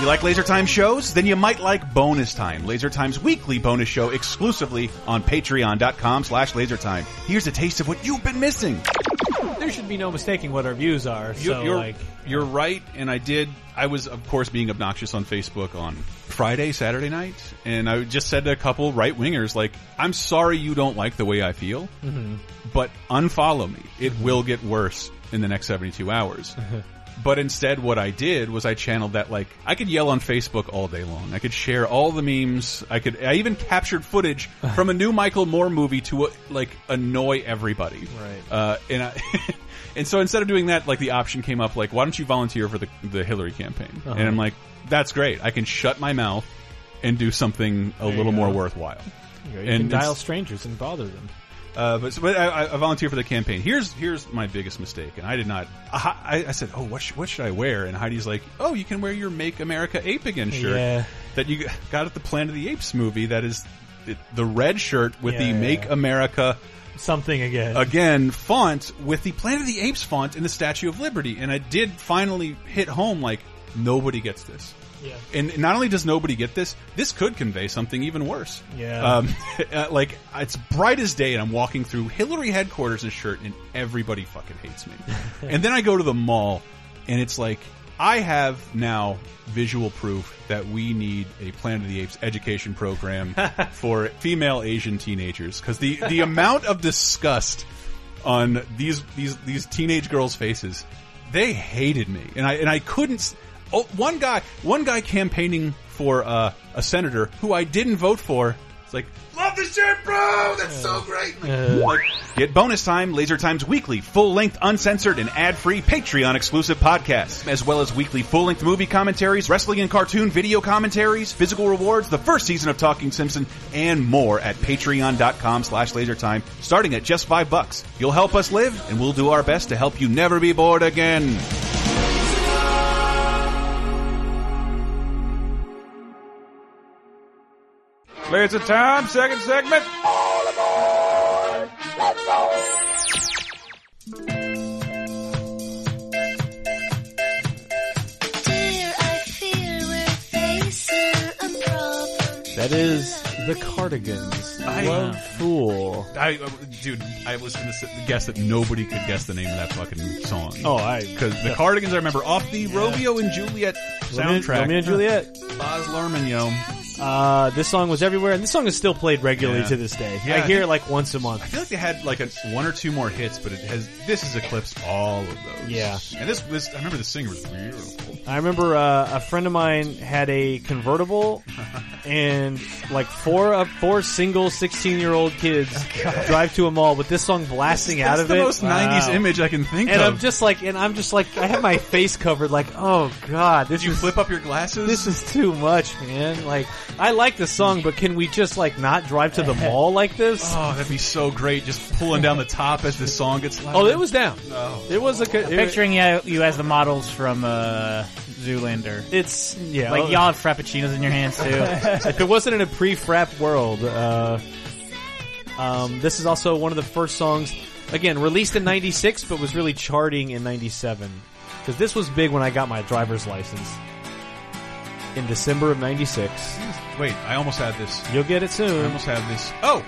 A: You like Laser Time shows? Then you might like Bonus Time, Laser Time's weekly bonus show exclusively on patreon.com slash lasertime. Here's a taste of what you've been missing.
B: There should be no mistaking what our views are. so
A: you're,
B: like,
A: you're right, and I did. I was, of course, being obnoxious on Facebook on Friday, Saturday night, and I just said to a couple right-wingers, like, I'm sorry you don't like the way I feel, but unfollow me. It will get worse in the next 72 hours. But instead, what I did was I channeled that like I could yell on Facebook all day long. I could share all the memes. I could. I even captured footage from a new Michael Moore movie to uh, like annoy everybody.
B: Right.
A: Uh, and I, and so instead of doing that, like the option came up like, why don't you volunteer for the the Hillary campaign? And I'm like, that's great. I can shut my mouth and do something a little more worthwhile.
B: you
A: and
B: can dial
A: it's-
B: strangers and bother them.
A: Uh, but but I, I volunteer for the campaign. Here's here's my biggest mistake, and I did not. I, I said, "Oh, what sh what should I wear?" And Heidi's like, "Oh, you can wear your Make America Ape Again shirt
B: Yeah.
A: that you got at the Planet of the Apes movie. That is the, the red shirt with
B: Yeah,
A: the
B: yeah,
A: Make
B: yeah.
A: America
B: Something again.
A: Again font with the Planet of the Apes font in the Statue of Liberty. And I did finally hit home like nobody gets this.
C: Yeah.
A: And not only does nobody get this, this could convey something even worse.
B: Yeah.
A: Um, uh, like it's bright as day, and I'm walking through Hillary headquarters in a shirt, and everybody fucking hates me. and then I go to the mall, and it's like I have now visual proof that we need a Planet of the Apes education program for female Asian teenagers because the the amount of disgust on these these these teenage girls' faces. They hated me, and I and I couldn't. s- Oh, one guy, one guy campaigning for uh, a senator who I didn't vote for. It's like love the shirt, bro. That's so great. Like, like, get bonus time, Laser Times weekly, full length, uncensored, and ad free Patreon exclusive podcasts, as well as weekly full length movie commentaries, wrestling and cartoon video commentaries, physical rewards, the first season of Talking Simpson, and more at patreon.com slash lasertime, starting at just five bucks. You'll help us live, and we'll do our best to help you never be bored again. Laser time, second segment.
G: Do I feel we're facing
B: That is the Cardigans.
A: I-
B: Love Fool.
A: I, I- dude, I was going to guess that nobody could guess the name of that fucking song.
B: Oh, I
A: because the Cardigans I remember off the Romeo and Juliet
B: Romeo-
A: soundtrack.
B: Romeo and Juliet.
A: Baz Luhrmann, yo.
B: Uh, this song was everywhere, and this song is still played regularly
A: Yeah.
B: to this day.
A: Yeah,
B: I
A: I
B: hear
A: think-
B: it like once a month.
A: I feel like they had like a, one or two more hits, but it has this has eclipsed all of those.
B: Yeah.
A: and this was I remember the singer was beautiful.
B: I remember uh, a friend of mine had a convertible, and like four uh, four single sixteen year old kids drive to a mall with this song blasting out
A: Oh, That's
B: of
A: the
B: it.
A: most '90s image I can think
B: and
A: of.
B: I'm just like, and I'm just like, I have my face covered, like, oh god, this
A: Did you
B: is
A: flip up your glasses?
B: this is too much, man. Like, I like the song, but can we just like not drive to the mall like this?
A: oh, that'd be so great. Just pulling down the top as the song gets louder.
B: Oh, it was down.
A: Oh.
B: It was a co- it-
D: Picturing you, you as the models from uh, Zoolander.
B: It's yeah, Oh,
D: Like y'all have frappuccinos in your hands too.
B: if it wasn't in a pre-frap world, uh, um, this is also one of the first songs, again, released in 96, but was really charting in 97. Because this was big when I got my driver's license. In December of 96.
A: Wait, I almost had this.
B: You'll get it
A: I
B: soon.
A: almost had this. Oh,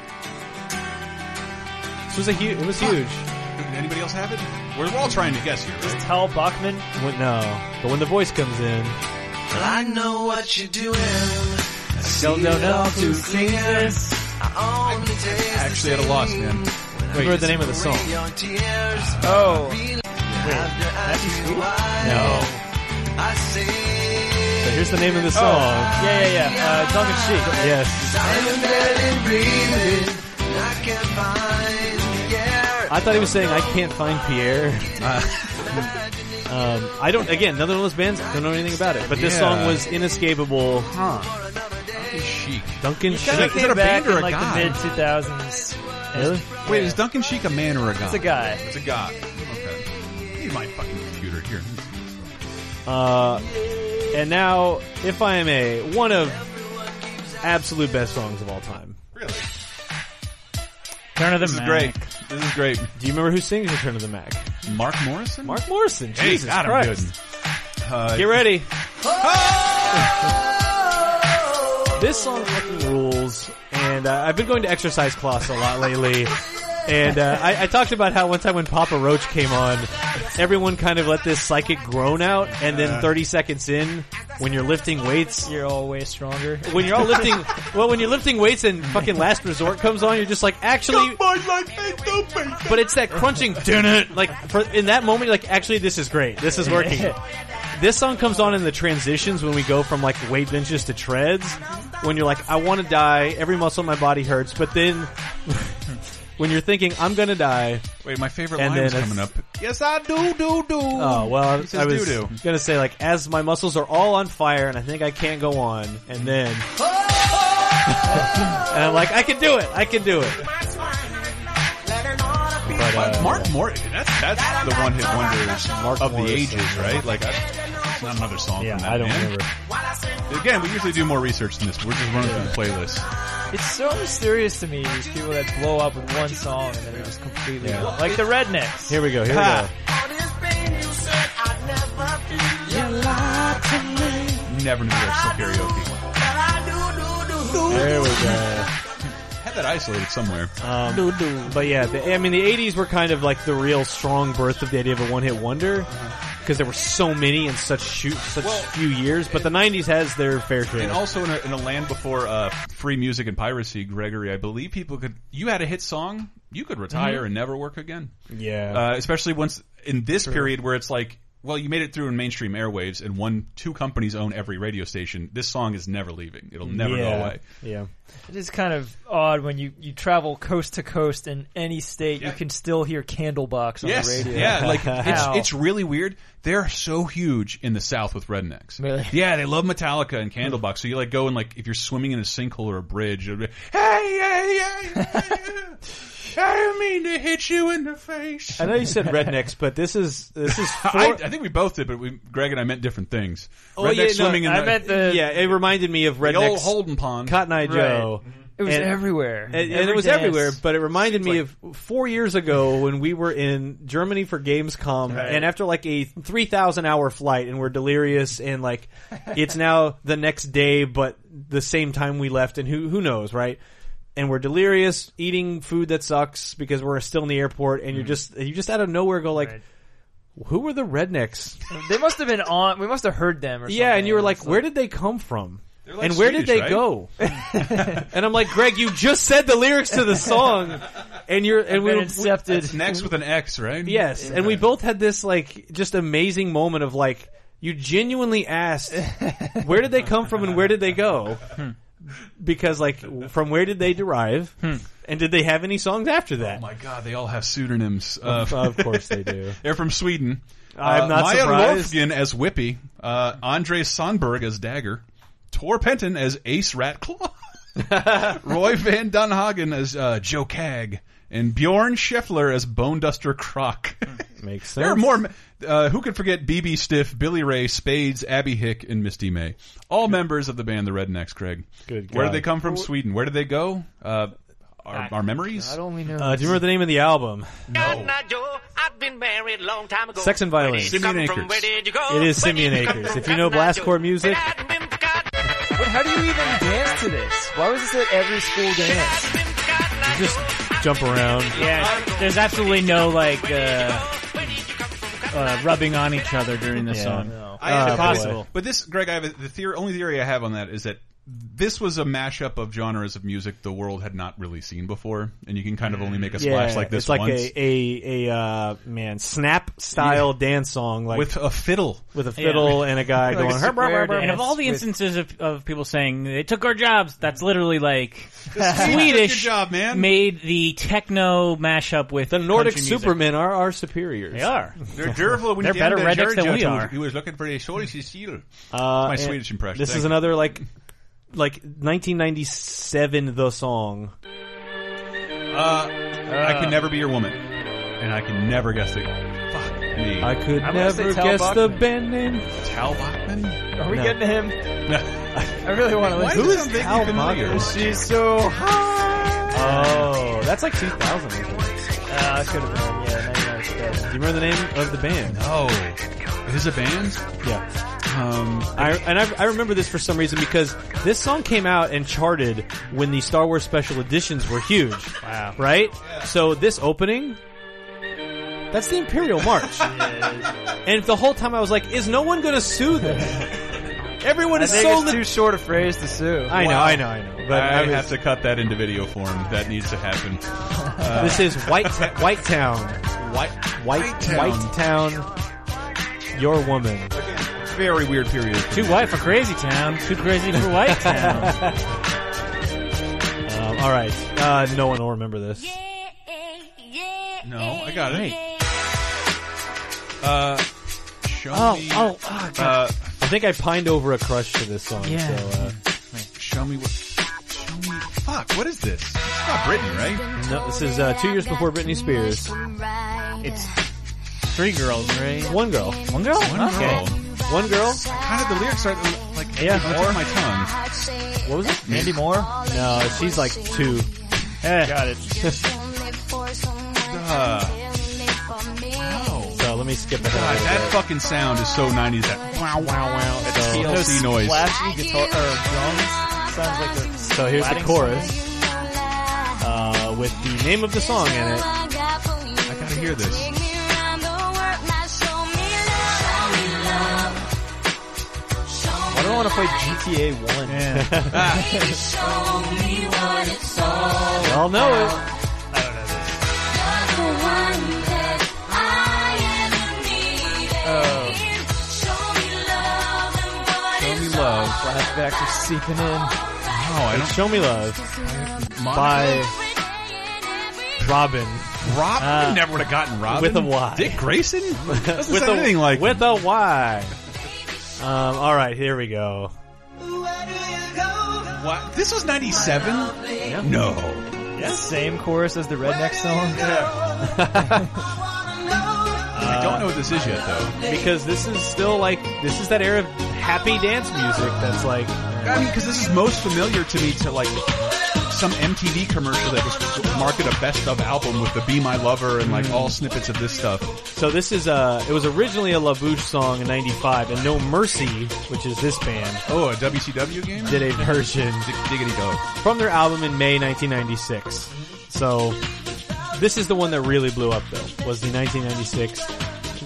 B: This was a huge, it was huge.
A: did anybody else have it? We're, we're all trying to guess here, right?
C: Tal Bachman.
B: When, no, but when the voice comes in,
G: I know what you're doing.
D: Still don't know who sings this.
G: I only taste
A: Actually, at a loss, man.
B: remember the name of the song.
G: your tears.
C: Oh,
G: After I see why
B: No.
G: I Oh. say
B: So here's the name of the song.
C: yeah, yeah, yeah. Uh, tongue in cheek.
B: Yes.
G: I'm dead and breathing. I can't find the air.
B: I thought he was saying I can't find Pierre. um, I don't. Again, another one of those bands. Don't know anything about it. But this
A: Yeah.
B: song was inescapable.
A: Chic.
B: Duncan
A: Is
B: Sheik.
A: it- is it a
C: back
A: band or
C: in
A: a
C: like
A: guy?
C: the mid 2000s.
B: Really?
A: Wait, is Duncan Sheik a man or a guy?
C: It's a guy.
A: It's a guy. Okay. Use my fucking computer here.
B: Uh, and now, if I am a one of absolute best songs of all time.
A: Really?
D: Turn of the
A: This is
D: Mac.
A: great. This is great.
B: Do you remember who sings "Return of the Mac"?
A: Mark Morrison?
B: Mark Morrison.
A: Hey,
B: Jesus
A: God, I'm
B: Christ!
A: good. Uh,
B: Get ready. this song fucking rules, and uh, I've been going to exercise class a lot lately. And uh, I, I talked about how one time when Papa Roach came on, everyone kind of let this psychic groan out, and then 30 seconds in, when you're lifting weights,
C: You're all way stronger.
B: when you're all lifting, well, when you're lifting weights and fucking Last Resort comes on, you're just like, actually, but it's that crunching, dun it, like for, in that moment, you're like, actually, this is great, this is working. This song comes on in the transitions when we go from like weight benches to treads. When you're like, I want to die, every muscle in my body hurts, but then when you're thinking, I'm gonna die,
A: Wait, my favorite
B: And
A: line
B: then
A: is
B: it's-
A: coming up. Yes, I do, do, do.
B: Oh well, I,
A: says
B: I was
A: doo-doo.
B: gonna say like as my muscles are all on fire and I think I can't go on, and then and I'm like I can do it, I can do it. But
A: But
B: uh,
A: Mark Morrison, that's, that's the one hit wonder
B: Mark
A: of the
B: Morrison.
A: ages, right? Like, I, it's not another song
B: yeah,
A: from that
B: I don't
A: man.
B: remember.
A: Again, we usually do more research than this. We're just running through the playlist.
C: It's so mysterious to me, these people that blow up with one song and then they're just completely gone. like the rednecks.
B: Here we go. Here
A: Ha.
B: we
A: Never knew there was still karaoke.
B: go. There we go.
A: Had that isolated somewhere.
B: Um, but yeah, the, I mean, the '80s were kind of like the real strong birth of the idea of a one-hit wonder because there were so many in such shoot, such
A: Uh-huh. Well,
B: few years. But the '90s has their fair share.
A: And also in a, in a land before uh, free music and piracy, Gregory, I believe people could. You had a hit song, you could retire and never work again.
B: yeah.
A: Uh, especially once in this period where it's like, well, you made it through in mainstream airwaves, and one, two companies own every radio station. This song is never leaving; it'll never go
B: yeah.
A: away.
B: Yeah.
C: It is kind of odd when you, you travel coast to coast in any state,
A: Yeah.
C: you can still hear Candlebox on
A: Yes,
C: the radio.
A: yeah, like it's
C: Wow.
A: it's really weird. They're so huge in the South with rednecks.
C: Really?
A: Yeah, they love Metallica and Candlebox. So you like go and like if you're swimming in a sinkhole or a bridge, it'll be, hey, hey, hey, hey, hey." I mean to hit you in the face.
B: I know you said rednecks, but this is this is. For,
A: I, I think we both did, but we, Greg and I meant different things.
B: Oh,
A: Redneck
B: yeah, no,
A: swimming in
C: I
A: the,
C: meant the
B: yeah, it reminded me of
A: the old
B: rednecks.
A: Holden pond.
B: Cotton Eye Joe.
A: Mm-hmm.
C: It was
B: And-
C: everywhere,
B: And, and
C: Every
B: it was
C: dance.
B: everywhere, but it reminded me of four years ago when we were in Germany for Gamescom, and after like a three thousand hour flight, and we're delirious, and like it's now the next day, but the same time we left, and who who knows, right? And we're delirious, eating food that sucks because we're still in the airport, and you're just you just out of nowhere go like,
C: Mm. Right.
B: who were the rednecks?
C: They must have been on. We must have heard them. or
B: Yeah, and you were
C: something.
B: like, where did they come from?
A: like
B: and where did they
A: Swedish, right?
B: go? and I'm like, Greg, you just said the lyrics to the song, and you're and we,
C: been
B: were-
C: incepted.
A: It's next with an X, right?
B: yes, and we both had this like just amazing moment of like, you genuinely asked, where did they come from and where did they go? Because like, from where did they derive, and did they have any songs after that?
A: Oh my God, they all have pseudonyms. Uh,
B: of course they do.
A: they're from Sweden. Uh,
B: I'm not
A: Maya
B: surprised.
A: Lofgren as Whippy, uh, Andre Sonberg as Dagger, Tor Penton as Ace Ratclaw, Roy Van Dunhagen as uh, Joe Cag, and Bjorn Scheffler as Bone Duster Croc.
B: Makes sense.
A: there are more. Uh, who could forget BB Stiff, Billy Ray, Spades, Abby Hick, and Misty May? All members of the band The Rednecks. Craig.
B: Good
A: Where did
B: God.
A: they come from? Sweden. Where did they go? Uh, our, our memories.
C: I don't know.
B: Uh, do you remember the name of the album?
H: God, not Joe. I've been married a long time ago.
B: Sex and
H: Where did
B: Violence.
H: you come
A: Simeon
H: from?
A: Akers.
H: Where did you go?
B: It is
H: Where did
B: Simeon
H: you come
B: Akers.
H: from?
B: If you know
H: God, not Joe.
B: blastcore music-
H: I've been God,
C: But how do you even dance to this? Why was this at every school dance?
H: been God, not
B: Just
H: Joe.
B: jump around.
D: Yeah, there's absolutely no like uh,
H: Where did you come from? God,
D: uh, rubbing on each other during this
A: I
D: song. Ah,
A: have
B: Oh,
A: a theory-
B: possible.
A: But this, Greg, I have a, the theory, only theory I have on that is that this was a mashup of genres of music the world had not really seen before, and you can kind of only
D: Mm.
A: make a splash like this
B: It's like
A: once
B: a a, a uh, man snap style dance song, like
A: with
B: with,
A: a fiddle.
B: a fiddle and a guy
C: Like a
B: going. "Herp, herp, herp,
C: square
B: herp."
D: And of all the
C: With-
D: instances of, of people saying they took our jobs, that's literally like Swedish
A: Good job, man.
D: made the techno mashup with
B: the Nordic
D: country music.
B: supermen are our superiors.
D: They are.
A: They're durable.
D: They're better rednecks than we are.
A: He was looking for a Swedish seal.
B: Uh,
A: My
B: and
A: Swedish impression.
B: This
A: Thank
B: is
A: you.
B: another like like 1997 the song.
A: Uh,
D: Uh.
A: I can never be your woman, and I can never guess the. Fuck me.
B: I could
C: I'm gonna
B: never
C: say Tal
B: guess the
C: Bachman.
B: band name.
A: Tal Bachman.
C: Are we
B: No.
C: getting to him? I really want to
A: Why
C: listen.
A: does it sound vaguely
B: Tal
A: familiar?
B: Bachman?
C: She's so hot.
B: Oh, that's like 2000. I think.
C: Uh, I could have been. Yeah, now you know it's
B: Do
C: better.
B: you remember the name of the band?
A: Oh, it is a band.
B: Yeah.
A: Um,
B: I, and I, I remember this for some reason because this song came out and charted when the Star Wars special editions were huge. Wow. Right? So this opening, that's the Imperial March. and the whole time I was like, is no one going to sue this? Everyone
C: I
B: is
C: think
B: so.
C: it's
B: Li-
C: too short a phrase to sue.
B: I know,
A: Wow.
B: I know, I know. But
A: I,
B: I was-
A: have to cut that into video form. That needs to happen.
B: this is White Ta- White Town,
A: White,
B: White
A: Town.
B: White Town, your woman.
A: Very weird period.
D: Too white for Crazy Town, too crazy for White Town.
B: Um, all right, uh, no one will remember this.
A: No, I got it. Uh, show me.
D: oh, oh, God.
A: Uh,
B: I think I pined over a crush to this song.
D: Yeah.
B: So, uh,
A: show me what. Show me. Fuck. What is this? It's not Britain, right?
B: No, this is uh, two years before Britney Spears.
D: it's three girls, right?
B: One girl.
D: One girl.
A: One
D: okay.
A: girl.
B: One girl?
A: How did the lyrics start? Like,
B: Yeah.
A: on the tip of my tongue.
B: What was it?
C: Mandy Moore.
B: No, she's like two.
D: Got it.
A: Uh,
B: So let me skip
A: Oh, God,
B: ahead.
A: that fucking sound is so 90s. That wow, wow, wow. That TLC
C: Those
A: noise.
C: Splashy guitar or drums. Sounds like they're
B: So here's the
C: splatting
B: chorus uh, with the name of the song in it.
A: I gotta hear this.
C: something. I don't want to play GTA One.
B: You all know it.
C: Show me love. Flashbacks are seeping in.
A: Oh, I don't.
B: Show Me Love by Robin.
A: Rob. I never would have gotten Rob
B: Uh, with a Y.
A: Dick Grayson. Doesn't
B: With
A: sound anything
B: a,
A: like
B: with a Y. Um, all right, here we go.
A: What? This was 97? No.
C: Same chorus as the redneck song.
A: I don't know what this is yet, though.
B: because this is still like this is that era of happy dance music that's like
A: I mean, because this is most familiar to me to like some MTV commercial that was market a best of album with the "Be My Lover" and like all snippets of this stuff.
B: so this is uh it was originally a LaBouche song in 95 and No Mercy which is this band
A: Oh, a WCW game?
B: did a version
A: Dig- Diggity dog.
B: from their album in May 1996 so this is the one that really blew up though was the 1996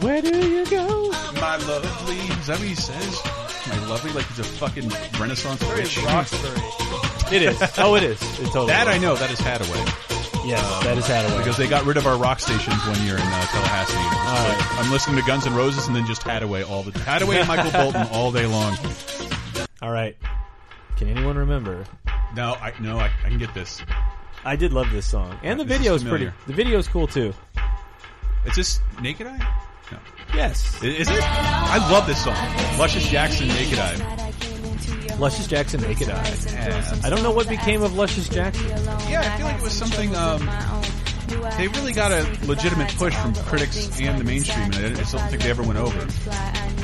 B: Where do you go
A: My lovely, is that what he says? My lovely, like he's a fucking Renaissance bitch.
B: It is oh it is it's totally
A: That I
B: is.
A: know. That is Hadaway
B: yes that is Hadaway
A: because they got rid of our rock stations one year in uh, Tallahassee. It was just like, I'm listening to Guns N' Roses and then just Hadaway all the Hadaway and Michael Bolton all day long.
B: all right can anyone remember
A: No, I no, I, I can get this.
B: I did love this song and the
A: This is
B: video is
A: familiar.
B: pretty the video is cool too
A: It's this Naked Eye. No,
B: yes
A: I- is it? I love this song. Luscious Jackson, Naked Eye.
B: Luscious Jackson Naked Eye
A: Yeah.
B: I don't know what became of Luscious Jackson.
A: Yeah, I feel like it was something. Um, they really got a legitimate push from critics and the mainstream, and I just don't think they ever went over.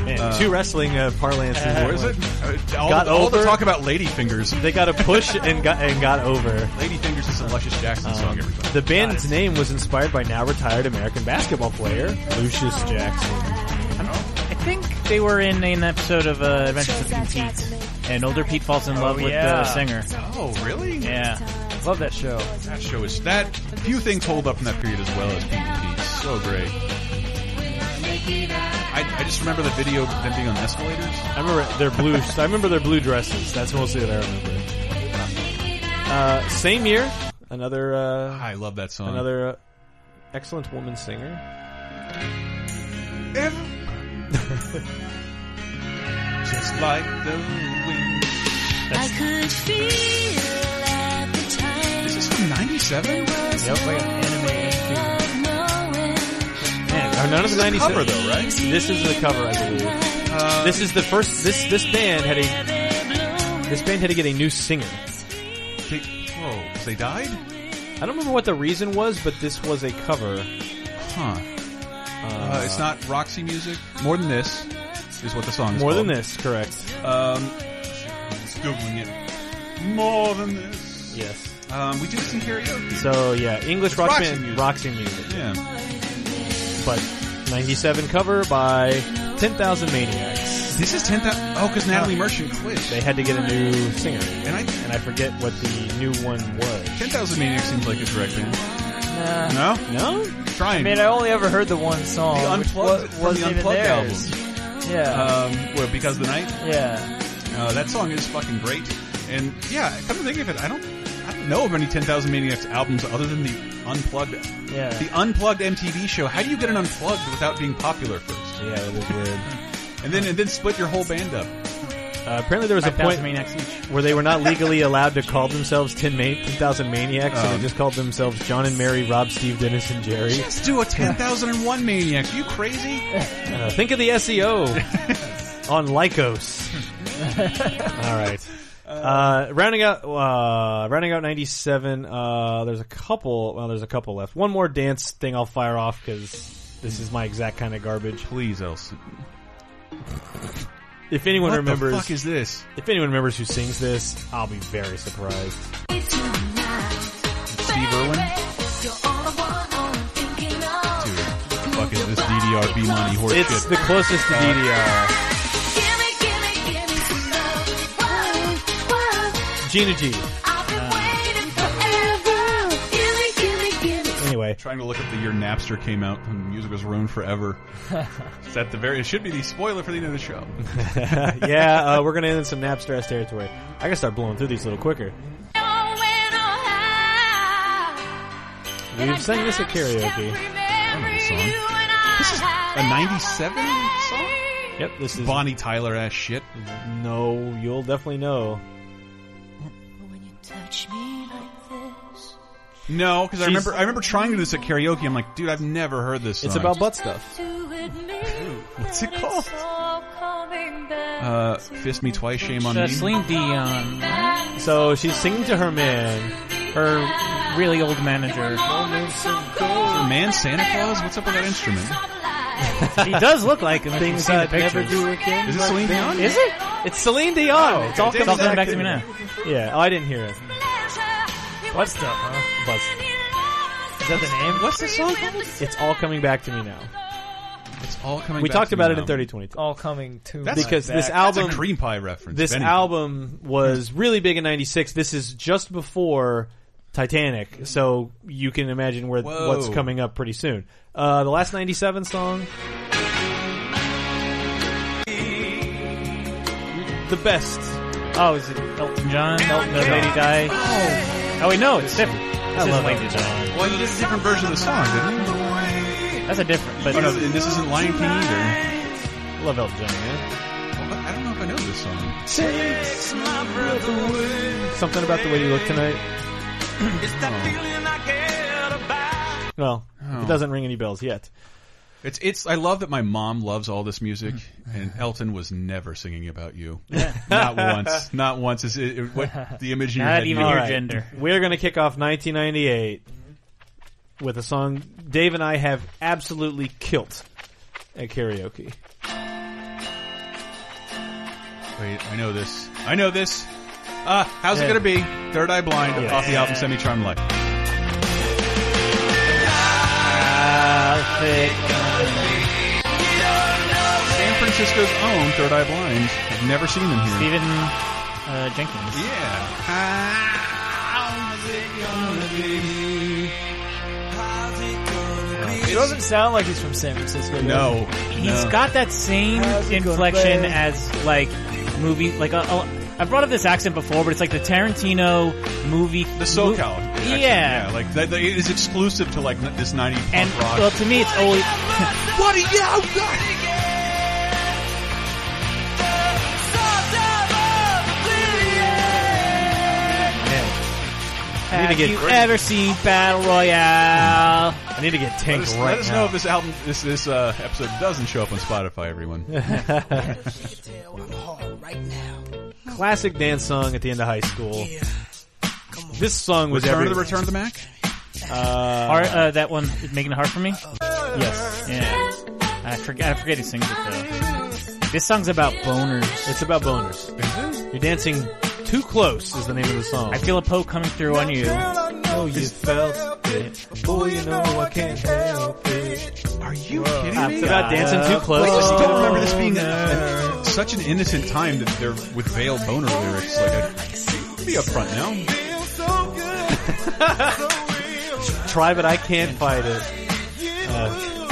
B: Man, two wrestling uh, parlance. in
A: Or is
B: one.
A: it? Uh, All,
B: Got
A: the, all the
B: over.
A: talk about lady fingers.
B: They got a push and got and got over. Um,
A: Lady fingers is a Luscious Jackson song. Everybody.
B: Uh, The band's name was inspired by now retired American basketball player Lucius Jackson.
A: Oh,
D: I think they were in an episode of uh, Adventures of Pete Pete, and older Pete falls in love with
C: yeah.
D: the singer.
A: Oh, really?
D: Yeah,
C: Love that show.
A: That show is that few things hold up from that period as well as PvP. So great. I, I just remember the video of them being on escalators.
B: I remember their blue. I remember their blue dresses. That's mostly what I remember. Uh, same year, another uh,
A: I love that song.
B: another uh, excellent woman singer.
A: just like the wind.
I: I could feel at the time
A: Is this from '97?
I: yep, like an
B: Man, none of the '90s
A: Cover though, right?
B: This is the cover, I believe.
A: Uh,
B: This is the first. This this band had a this band had to get a new singer.
A: they, whoa, 'cause they died?
B: I don't remember what the reason was, but this was a cover.
A: Huh. Uh, it's not Roxy music. More than this is what the song is
B: More than
A: called.
B: this, correct?
A: Um, just googling it. More than this.
B: Yes.
A: Um, we do this in karaoke.
B: So yeah, English rock
A: Roxy
B: band
A: music.
B: Roxy music,
A: yeah.
B: but '97 cover by Ten Thousand Maniacs.
A: This is 10,000. Oh, because Natalie Merchant quit.
B: They had to get a new singer,
A: And I
B: and I forget what the new one was.
A: 10,000 Maniacs seems like a direct band. No?
C: Nah.
B: No,
A: Trying.
C: I mean, I only ever heard the one song.
A: the
C: which
A: Unplugged,
C: wa-
A: from the
C: wasn't even
A: Unplugged album.
C: theirs. Yeah.
A: Um, well, Because the Night.
C: yeah.
A: Uh, that song is fucking great. And yeah, come to think of it, I don't, I don't know of any 10,000 Maniacs albums other than the Unplugged.
C: Yeah.
A: The Unplugged MTV show. How do you get an Unplugged without being popular first?
B: yeah, that was weird.
A: And then, and then split your whole band up.
B: Uh, apparently, there was a point
D: Thousand Maniacs each.
B: where they were not legally allowed to call themselves Ten Ma- 10,000 Maniacs, so
A: Um.
B: they just called themselves John and Mary, Rob, Steve, Dennis, and Jerry.
A: Let's do a 10,001 Maniacs. Are you crazy?
B: Uh, think of the SEO on Lycos. All right. Uh, rounding out, uh, rounding out '97. Uh, there's a couple. Well, there's a couple left. One more dance thing I'll fire off because this is my exact kind of garbage.
A: Please, Elson.
B: If anyone
A: What
B: remembers,
A: the fuck is this?
B: if anyone remembers who sings this, I'll be very surprised.
A: Steve Irwin? Dude, fucking this DDRB money horse
B: It's
A: shit.
B: the closest to DDR. Gina G. Anyway,
A: Trying to look up the year Napster came out and music was ruined forever. it's at the very. It should be the spoiler for the end of the show.
B: yeah, uh, we're gonna end in some Napster ass territory. I gotta start blowing through these a little quicker. We've sang this at karaoke.
A: This is a '97 song.
B: Yep, this is
A: Bonnie Tyler ass shit.
B: No, you'll definitely know.
A: No, because I remember I remember trying to do this at karaoke. I'm like, dude, I've never heard this. Song.
B: It's about butt stuff.
I: What's it called?
A: uh, fist me twice, shame on
D: So
A: me.
D: Celine Uh, Dion.
B: So she's singing to her man, her
D: really old manager.
A: Man Santa Claus? What's up with that instrument?
D: he does look like him. if you've
B: Things
D: seen the
B: I'd never
D: pictures.
B: do again.
A: Is it Celine Dion?
B: Is it? It's Celine Dion.
C: Oh,
B: it's all
A: It's
D: It's all
B: coming
D: coming
B: back.
D: back to me now.
B: Yeah. Oh, I didn't hear it.
C: Butt stuff, huh?
B: Buzz.
C: Is that the name?
B: What's the song called? It's all coming back to me now.
A: It's all coming
B: We
A: back
B: talked
A: to me
B: about it
A: now.
B: in 3020.
C: All coming to
A: That's-
C: my
B: because
C: back.
B: this
A: That's
B: album
A: a cream pie reference.
B: this
A: if anything.
B: album was really big in 96 this is just before titanic so you can imagine where
A: Whoa.
B: what's coming up pretty soon uh, the last 97 song the best
D: Oh, is it Elton John? Elton John. Lady Di? Oh. wait, no, it's different. This is Lady Di.
A: Well, he did a different version of the song, didn't he?
D: That's a different. But
A: Oh, no, and this isn't Lion King either.
B: love elton john man
A: Well, I don't know if I know this song.
B: something about the way you look tonight well
A: Oh.
B: it doesn't ring any bells yet
A: It's it's. I love that my mom loves all this music,
B: Mm-hmm.
A: and Elton was never singing about you. not once. Not once. Is it, it- what the image in your
D: not
A: head
D: even
A: you-
D: your
B: Alright.
D: gender.
B: We're going to kick off 1998 with a song Dave and I have absolutely kilt at karaoke.
A: Wait, I know this. I know this. Uh, how's it gonna be? Third Eye Blind
D: Oh,
A: off the album Semi Charmed Life. San Francisco's own Third Eye Blind. I've never seen them here.
D: Stephen uh, Jenkins.
A: Yeah. How's it gonna be?
C: He doesn't sound like he's from San Francisco. does he?
A: No.
D: He's
A: no.
D: got that same
C: How's it gonna
D: inflection
C: play?
D: as like movie like a, a, I brought up this accent before, but it's like the Tarantino movie.
A: the SoCal.
D: mo-
A: actually,
D: yeah.
A: yeah. Like that, that it is exclusive to like n- this '90s punk
D: And
A: rock.
D: well, to me, it's always
A: what are you?
D: have
B: get
D: you
B: great.
D: ever seen Battle Royale?
B: I need to get
A: Let
B: tanked
A: us,
B: right
A: let us
B: now.
A: know if this album, this this uh, episode doesn't show up on Spotify. Everyone.
B: Classic dance song at the end of high school. This song was
A: Return of
B: everywhere.
A: the Return of the Mac.
D: Heart, uh, that one is making it hard for me.
B: Yes.
D: Yeah, I forget. I forget he sings it though. uh, This song's about boners.
B: It's about boners. You're dancing too close is the name of the song.
D: I feel a poke coming through on you.
B: know you felt it. Boy, you know I can't help it.
A: Are you kidding
B: It's about dancing too close.
A: I just don't remember this being uh, such an innocent time that they're with veiled boner lyrics. Like, I'd be up front now.
B: Try, but I can't fight it. Uh,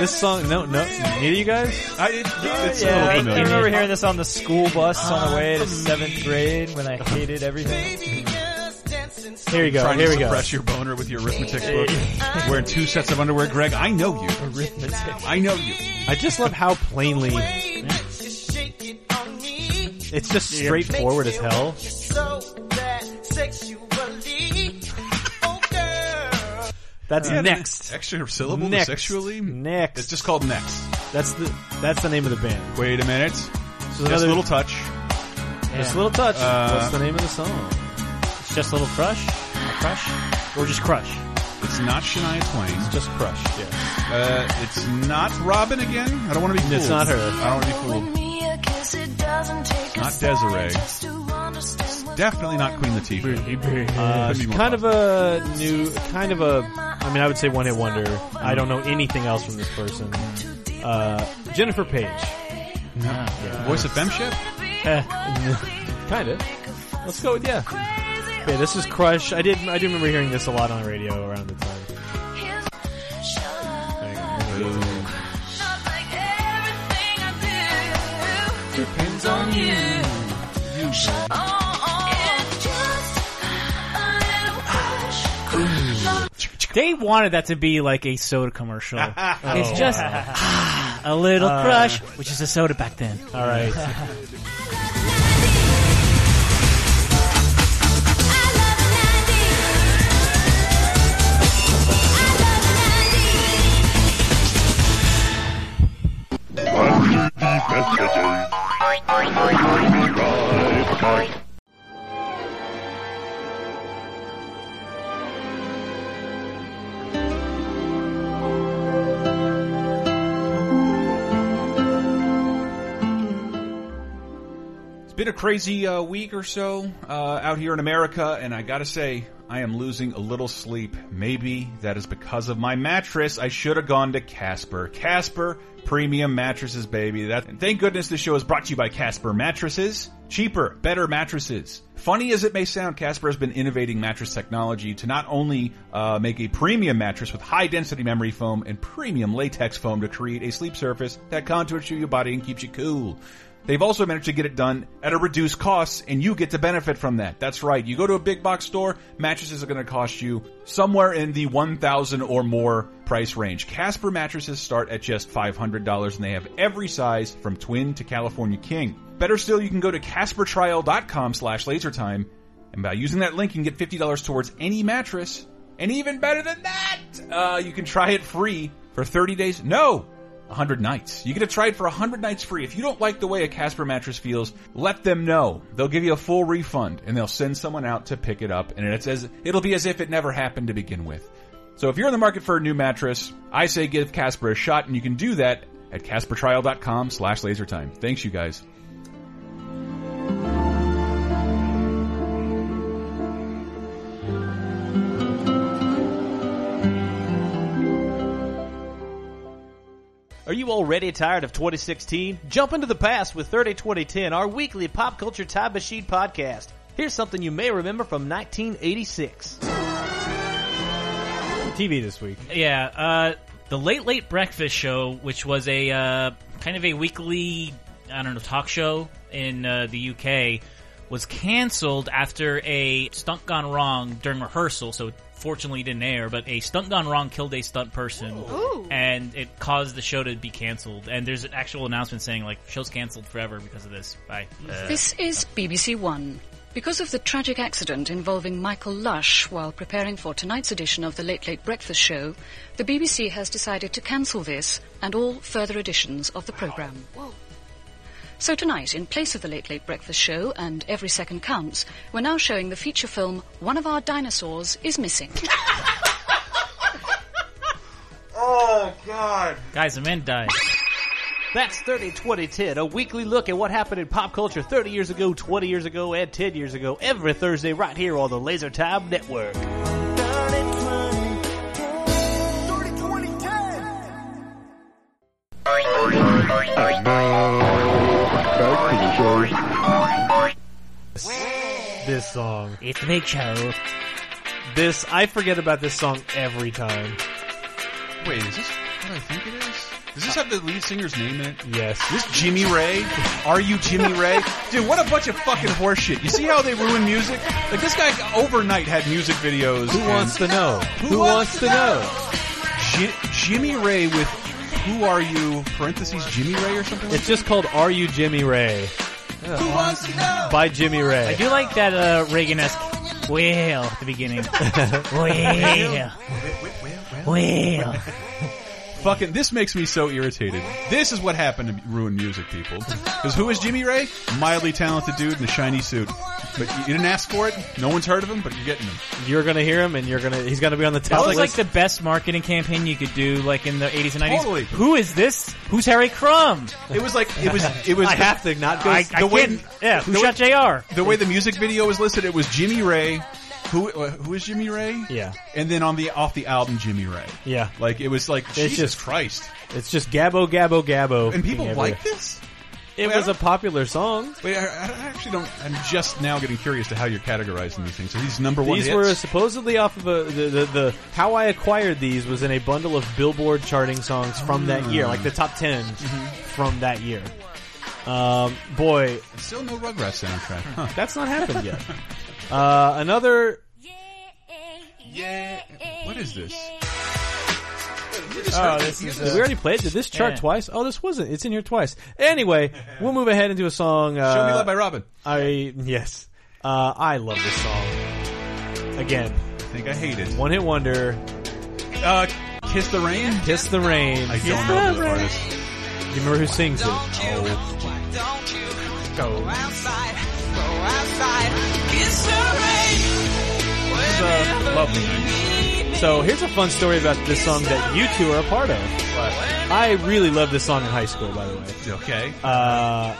B: this song, no, no, neither you guys.
A: I, it, it's
C: Yeah,
A: a
C: I
A: little
C: I
A: familiar.
C: remember hearing this on the school bus on the way to seventh grade when I hated everything.
B: Here you go.
A: Trying
B: Here
A: to
B: we go.
A: suppress your boner with your arithmetic book. Wearing two sets of underwear, Greg. I know you.
C: Arithmetic.
A: I know you.
B: I just love how plainly it's just straightforward as hell.
H: oh,
B: That's next.
A: Extra syllable
B: Next.
A: sexually?
B: Next.
A: It's just called next.
B: That's the that's the name of the band.
A: Wait a minute.
B: This is
A: Just
B: another-
A: a little touch.
B: Just a little touch.
A: Uh,
B: What's the name of the song?
D: It's just a little crush, a crush, or just crush.
A: It's not Shania Twain.
B: Just crush. Yeah.
A: Uh, it's not Robin again. I don't want to be fooled.
B: It's not her.
A: I don't want to be fooled.
I: Not
A: Desiree.
I: Desiree.
A: Definitely not Queen Latifah.
B: Uh,
A: Couldn't be more
B: kind of a new, kind of a. I mean, I would say one hit wonder. I don't know anything else from this person. Uh, Jennifer Page.
A: Voice of Femship?
B: Kind of. Let's go with yeah. Yeah, this is Crush. I did. I do remember hearing this a lot on the radio around the time.
D: They wanted that to be like a soda commercial. it's just
A: Oh.
D: a little
A: Uh,
D: crush, which is a soda back then.
B: All right.
A: been a crazy uh, week or so uh, out here in America, and I gotta say, I am losing a little sleep. Maybe that is because of my mattress. I should have gone to Casper. Casper premium mattresses, baby. That and thank goodness this show is brought to you by Casper mattresses. Cheaper, better mattresses. Funny as it may sound, Casper has been innovating mattress technology to not only uh, make a premium mattress with high density memory foam and premium latex foam to create a sleep surface that contours your body and keeps you cool. They've also managed to get it done at a reduced cost, and you get to benefit from that. That's right. You go to a big box store, mattresses are going to cost you somewhere in the 1000 or more price range. Casper mattresses start at just $500, and they have every size from twin to California king. Better still, you can go to CasperTrial.com slash LaserTime, and by using that link, you can get $50 towards any mattress. And even better than that, uh, you can try it free for 30 days. No! 100 nights. You get to try it for 100 nights free. If you don't like the way a Casper mattress feels, let them know. They'll give you a full refund and they'll send someone out to pick it up and it's as, it'll be as if it never happened to begin with. So if you're in the market for a new mattress, I say give Casper a shot and you can do that at CasperTrial.com slash lasertime. Thanks you guys.
J: Are you already tired of 2016? Jump into the past with 30 2010, our weekly pop culture time machine podcast. Here's something you may remember from 1986.
B: TV this week.
D: Yeah, uh, the Late Late Breakfast Show, which was a uh, kind of a weekly, I don't know, talk show in uh, the UK, was canceled after a stunt gone wrong during rehearsal. So fortunately, it didn't air. But a stunt gone wrong killed a stunt person,
I: Ooh.
D: and it caused the show to be canceled. And there's an actual announcement saying like, "Show's canceled forever because of this." Bye.
I: This is BBC One. Because of the tragic accident involving Michael Lush while preparing for tonight's edition of the Late Late Breakfast Show, the BBC has decided to cancel this and all further editions of the programme. So tonight, in place of the Late Late Breakfast Show and Every Second Counts, we're now showing the feature film One of Our Dinosaurs is Missing.
D: Uh, Guys, a man died.
J: That's 30 2010, a weekly look at what happened in pop culture 30 years ago, 20 years ago, and 10 years ago, every Thursday right here on the Laser Time Network.
B: This song.
D: It's the big show.
B: This I forget about this song every time.
A: Wait, is this what I think it is? Does this have the lead singer's name in it?
B: Yes.
A: Is This Jimmy Ray? Are you Jimmy Ray? Dude, what a bunch of fucking horseshit. You see how they ruin music? Like this guy overnight had music videos.
B: Who
A: and-
B: wants to know? Who, wants to know?
A: Ji- Jimmy Ray with Who Are You? Parentheses Jimmy Ray or something. Like
B: It's just called "Are You Jimmy Ray"
A: Who wants to know?
B: by Jimmy
D: I
B: Ray.
D: do like that uh, Reagan-esque whale at the beginning. Whale. Whale.
A: Fucking this makes me so irritated. This is what happened to ruin music, people. Because who is Jimmy Ray? Mildly talented dude in a shiny suit. But you didn't ask for it. No one's heard of him, but you're getting him.
B: You're gonna hear him, and you're gonna he's gonna be on the
D: That
B: top
D: was like
B: list.
D: the best marketing campaign you could do, like in the 80s and 90s.
A: Totally.
D: Who is this? Who's Harry Crumb?
A: It was like it was it was
B: I have to not go.
D: I,
B: s-
D: I
A: the way-
D: can't. Yeah, who
A: the
D: shot JR?
A: the way the music video was listed. It was Jimmy Ray. Who uh, who is Jimmy Ray?
B: Yeah.
A: And then on the off the album Jimmy Ray.
B: Yeah.
A: Like it was like Jesus
B: just-
A: Christ.
B: it's just gabbo gabbo gabbo.
A: And people
B: being
A: like
B: everywhere.
A: this.
B: it. was a popular song.
A: Wait, I, I actually don't. I'm just now getting curious to how you're categorizing these things. So these number one
B: These
A: hits.
B: were supposedly off of a the, the the how I acquired these was in a bundle of Billboard charting songs from that year, like the top 10
A: Mm-hmm.
B: from that year. Um, boy,
A: Still no Rugrats soundtrack. Huh.
B: that's not happened yet. Uh, another
A: Yeah. What is this?
C: Oh, this is
B: Did we already played. Did this chart
D: Yeah.
B: twice? Oh, this wasn't. It's in here twice. Anyway, we'll move ahead into a song. Uh,
A: Show Me Love by Robin.
B: I yes, uh, I love this song. Again,
A: I think I hate it.
B: one hit wonder.
A: Uh, Kiss the Rain.
B: Kiss the rain.
A: I
B: Do
A: don't know the artist.
B: you remember who sings it? Oh,
A: oh, It's uh, a lovely name.
B: so here's a fun story about this song that you two are a part of. I really loved this song in high school, by the way.
A: Okay.
B: Uh,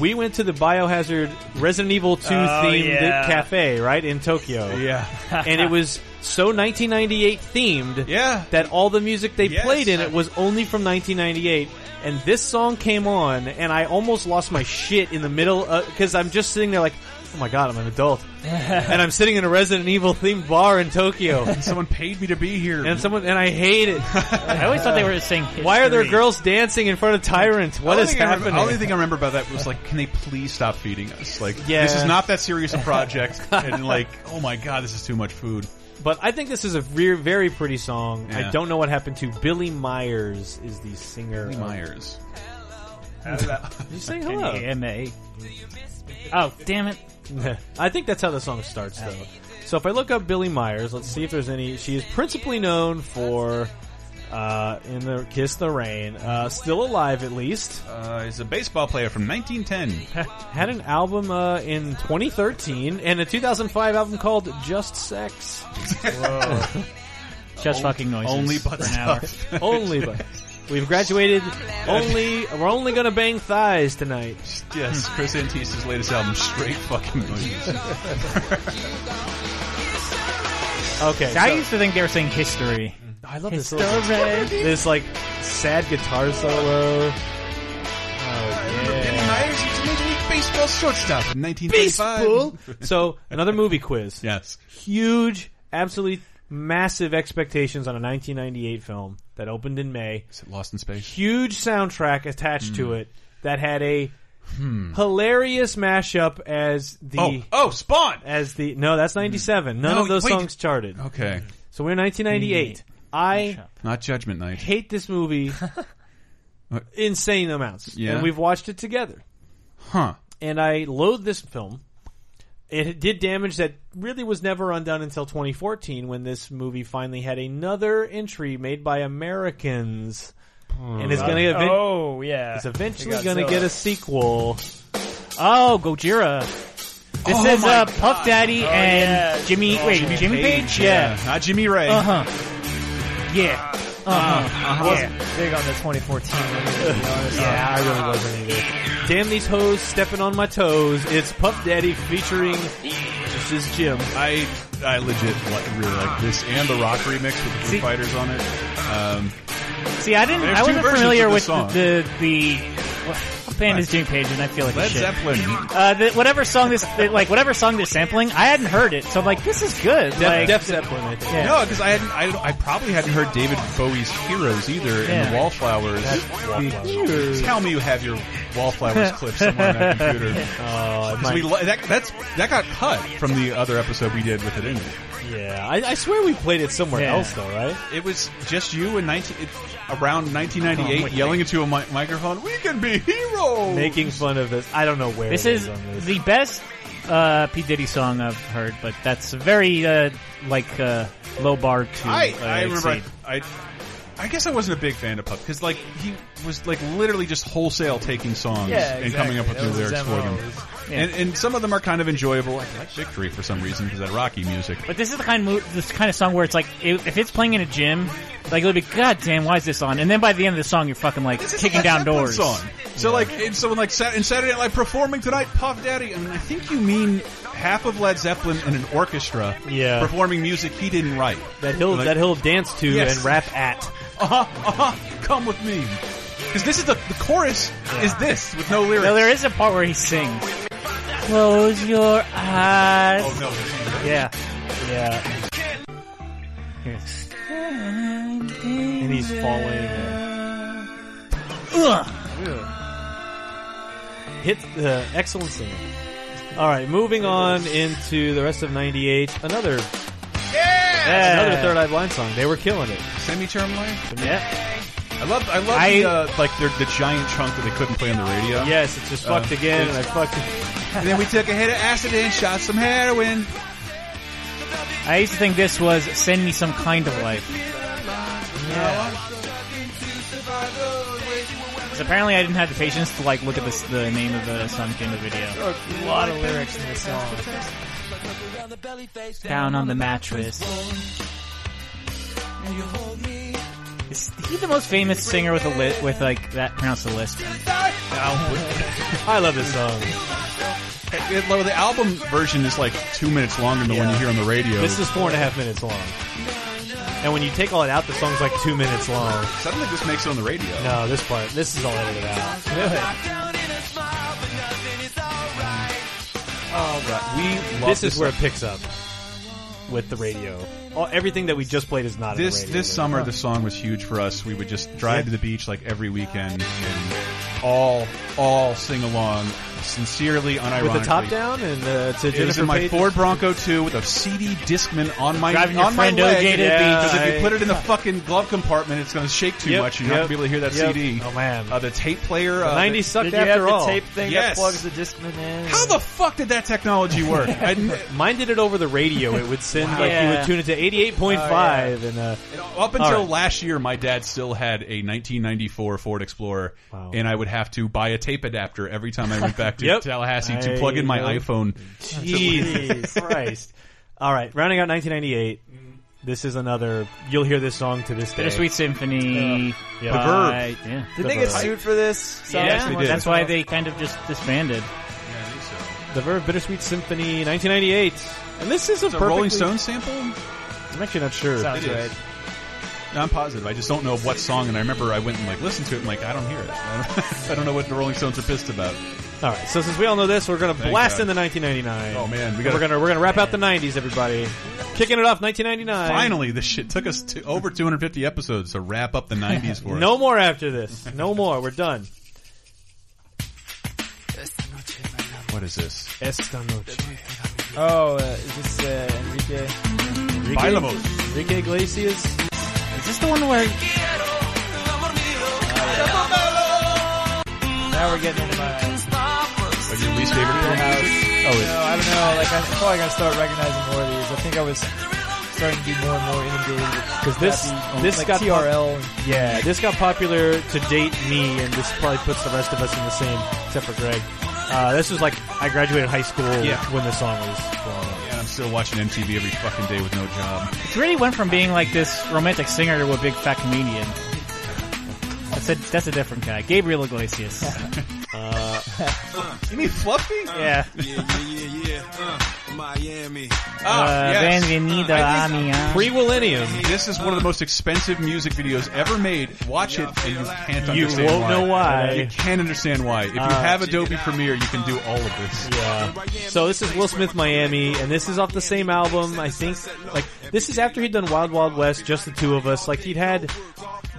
B: we went to the Biohazard Resident Evil 2
C: Oh,
B: themed
C: yeah.
B: cafe, right, in Tokyo.
A: Yeah.
B: and it was so 1998 themed
A: Yeah.
B: that all the music they
A: Yes.
B: played in it was only from 1998 and this song came on and i almost lost my shit in the middle because i'm just sitting there like oh my god i'm an adult and i'm sitting in a resident evil themed bar in tokyo
A: And someone paid me to be here.
B: and someone and i hate it
D: I always thought they were saying.
B: why are there
D: history.
B: girls dancing in front of tyrant what
A: The
B: is
A: only thing I remember-
B: happening
A: The only thing I remember about that was like, can they please stop feeding us? Like,
B: Yeah.
A: this is not that serious a project. and like, oh my god, this is too much food.
B: but i think this is a very, very pretty song
A: Yeah.
B: i don't know what happened to billy myers is the singer
A: Billy
B: of-
A: Myers.
B: Did you say hello
D: M.A. Oh damn it!
B: I think that's how the song starts, though. So if I look up Billy Myers, let's see if there's any. She is principally known for uh, in the Kiss the Rain, uh, still alive at least.
A: Uh, he's a baseball player from 1910.
B: Had an album uh, in 2013 and a 2005 album called Just Sex
D: Just fucking noises.
A: Only
D: for
A: but
D: an hour.
A: Oh.
B: only. But we've graduated. Only we're only gonna bang thighs tonight.
A: yes, Chris Antista's latest album, Straight Fucking Noises.
B: Okay,
D: I
B: so-
D: used to think they were saying history.
B: I love this little, this like sad guitar solo. Oh,
A: Billy Myers used to Major League Baseball shortstop in 1935.
B: Peaceful. so another movie quiz.
A: Yes.
B: huge, absolutely massive expectations on a 1998 film that opened in May.
A: Is it Lost in Space?
B: Huge soundtrack attached to
A: Hmm.
B: it that had a hilarious mashup as the
A: Oh, oh, Spawn!
B: as the no, that's 97. None
A: No,
B: of those
A: wait. Oh.
B: songs charted.
A: Okay.
B: So we're in 1998. I
A: Not Judgment Night.
B: hate this movie insane amounts.
A: Yeah.
B: And we've watched it together.
A: Huh.
B: and I loathe this film. It did damage that really was never undone until 2014 when this movie finally had another entry made by Americans.
D: Hmm.
B: And it's going to event-
C: Oh yeah.
B: it's eventually
C: Godzilla.
B: going to get a sequel.
D: Oh, Gojira. This
A: Oh
D: is
A: my
D: uh, Puff Daddy and
C: Oh, yeah. Oh,
D: Jimmy. wait, Jimmy, Page? Yeah.
A: Not Jimmy Ray.
B: Uh-huh.
D: Uh huh. Yeah. Uh huh. Yeah.
C: Uh-huh. big on the 2014.
B: Yeah, I really wasn't
C: Uh-huh.
B: either. Damn these hoes stepping on my toes. It's Puff Daddy featuring this is Jim.
A: I I legit like, really like this and the rock remix with the Foo
D: See-
A: Fighters on it. Um,
D: See, I didn't.
A: There's
D: I
A: two
D: wasn't
A: versions
D: familiar
A: of this
D: with
A: song.
D: the the. the what band is Jimmy Page, and I feel like
A: Led
D: shit.
A: Zeppelin.
D: Uh, the, whatever song this, like whatever song they're sampling, I hadn't heard it, so I'm like, this is good.
B: Def,
D: like,
B: Def Zeppelin, I think.
D: Yeah.
A: No, because I hadn't. I, don't- I probably hadn't heard David Bowie's "Heroes" either,
D: Yeah.
A: and the Wallflowers. Tell me you have your Wallflowers clip somewhere on that computer.
B: Oh, it
A: 'Cause
B: might-
A: we li- that, that's that got cut from the other episode we did with it in it.
B: yeah. I, I swear we played it somewhere
D: Yeah.
B: else though, right?
A: It was just you in 19, it, around 1998 yelling into a mi- microphone, "We can be heroes."
B: Making fun of this. I don't know where
D: This
B: it
D: is
B: on this.
D: the best uh, P Diddy song I've heard, but that's a very uh, like uh, low bar to.
A: I,
D: uh,
A: I remember I,
D: exceed.
A: I I guess I wasn't a big fan of Puff because like he was like literally just wholesale taking songs
C: Yeah,
A: and coming up with
C: exactly.
A: new lyrics
C: That
A: for
C: was his
A: them.
D: Yeah.
A: And, and some of them are kind of enjoyable. I like Victory for some reason because that Rocky music.
D: But this is the kind of mo- this kind of song where it's like if if it's playing in a gym, like it'll be God damn, why is this on? And then by the end of the song, you're fucking like
A: This is
D: kicking
A: a
D: down
A: Zeppelin
D: doors.
A: Song. So like and so like Sat- in Saturday Night Live performing tonight, Puff Daddy, and I think you mean half of Led Zeppelin and an orchestra
B: Yeah.
A: performing music he didn't write.
B: that he'll
A: Like-
B: that he'll dance to
A: Yes.
B: and rap at.
A: Uh huh. Uh huh. Come with me. Because this is the, the chorus is this with no lyrics.
D: No, there is a part where he sings. Close your eyes.
A: Oh no. there's no lyrics.
D: Yeah, yeah. Here's-
B: And he's falling.
D: Ugh.
B: Hit the excellent singer. All right, moving on into the rest of '98. Another
D: Yeah.
B: another Third Eye Blind song. They were killing it.
A: Semi-term life.
D: Yeah.
A: I love. I love
D: I-
A: the, uh, like the, the giant chunk that they couldn't play on the radio.
B: Yes, it's just
A: Uh,
B: fucked again, and I fucked.
A: And then we took a hit of acid and shot some heroin.
D: I used to think this was "Send Me Some Kind of Life." Because apparently I didn't have the patience to like look at this, the name of the song at the end of the video.
C: A lot of lyrics in this song.
D: Down on the mattress. Is he the most famous singer with a li- with like that pronounced a lisp?
B: I love this song.
A: It- well, the album version is like two minutes longer than the one you hear on the radio.
B: This is four and a half minutes long. And when you take all it out, the song's like two minutes long.
A: I don't think this makes it on the radio.
B: No, this part, this is all edited out.
A: We love
B: This is where it
A: song.
B: picks up with the radio. All, everything that we just played is not
A: this
B: in the radio.
A: this summer the song was huge for us. We would just drive to the beach like every weekend and all all sing along sincerely, unironically.
B: with the top down and uh, to
A: It was
B: Jennifer
A: in my
B: Page.
A: Ford Bronco 2 with a CD Discman on my
D: Driving your
A: on my
D: friend
A: leg.
D: O.J. to the
A: because
B: beach.
A: if you put it in the fucking glove compartment, it's going to shake too
B: Yep,
A: much. You're not going to
B: yep,
A: be able to hear that
B: yep.
A: CD.
B: Oh, man.
A: uh, the tape player. uh, the-
B: 90s sucked
C: Did you
B: after
C: have
B: all.
C: the tape thing
A: Yes.
C: that plugs the Discman in?
A: How the fuck did that technology work? uh, I,
B: Mine did it over the radio. It would send like you
C: Yeah.
B: would tune it to eighty eight point five and uh,
A: up until
B: right.
A: last year, my dad still had a 1994 Ford Explorer,
B: Wow.
A: and I would have to buy a tape adapter every time I went back to
B: Yep.
A: Tallahassee
B: I
A: to plug in my
B: know.
A: iPhone.
B: Jesus Christ. All right, rounding out nineteen ninety eight. This is another. You'll hear this song to this day.
D: Bittersweet Symphony.
B: Yeah. The
D: by-
A: Verve.
D: Oh, Uh, Yeah.
C: Did they
B: the
C: get
B: Verve.
C: sued for this?
D: Yeah,
A: Yes, we did.
D: that's why they kind of just disbanded.
B: The Verve Bittersweet Symphony, nineteen ninety eight. And this is a,
A: It's a
B: perfectly-
A: Rolling Stone sample?
B: I'm actually not sure.
C: Sounds
A: It is.
C: right.
A: No, I'm positive. I just don't know what song, and I remember I went and like listened to it, and like I don't hear it. I don't, I don't know what the Rolling Stones are pissed about.
B: All right, so since we all know this, we're gonna
A: Thank
B: blast
A: God.
B: into nineteen ninety nine.
A: Oh, man, we
B: we
A: gotta-
B: are gonna we're gonna wrap out the nineties, everybody. Kicking it off, nineteen ninety nine.
A: Finally, this shit took us to over 250 episodes to wrap up the 90s for us.
B: No more after this. No more. We're done.
A: What is this?
B: Esta noche.
C: Oh, uh, is this uh, Enrique?
A: Bailamos.
B: Enrique Iglesias.
C: Is this the one where? Now we're getting into my house.
A: Like your least favorite
C: No,
B: Oh,
A: film?
C: I don't know. Like I'm probably gonna start recognizing more of these. I think I was starting to be more and more inundated because
B: this- this
C: like
B: got-
C: TRL.
B: Yeah, this got popular to date me, and this probably puts the rest of us in the same, except for Greg. Uh, this was like I graduated high school
A: Yeah.
B: when this song was going on.
A: And I'm still watching MTV every fucking day with no job.
D: It really went from being like this romantic singer to a big fat comedian. That's a, that's a different guy. Gabriel Iglesias.
A: You mean Fluffy?
B: Uh,
D: yeah.
G: Yeah, yeah, yeah, yeah. Uh, Miami.
A: Ah,
D: Uh,
A: yes.
D: Bienvenido a mi am-
B: Pre-Willennium.
A: This is one of the most expensive music videos ever made. Watch it, and you can't understand
B: You won't
A: why.
B: know why. Uh,
A: You can't understand why. If you have Adobe Premiere, you can do all of this.
B: Yeah. So this is Will Smith Miami, and this is off the same album, I think. Like this is after he'd done Wild Wild West, just the two of us. Like he'd had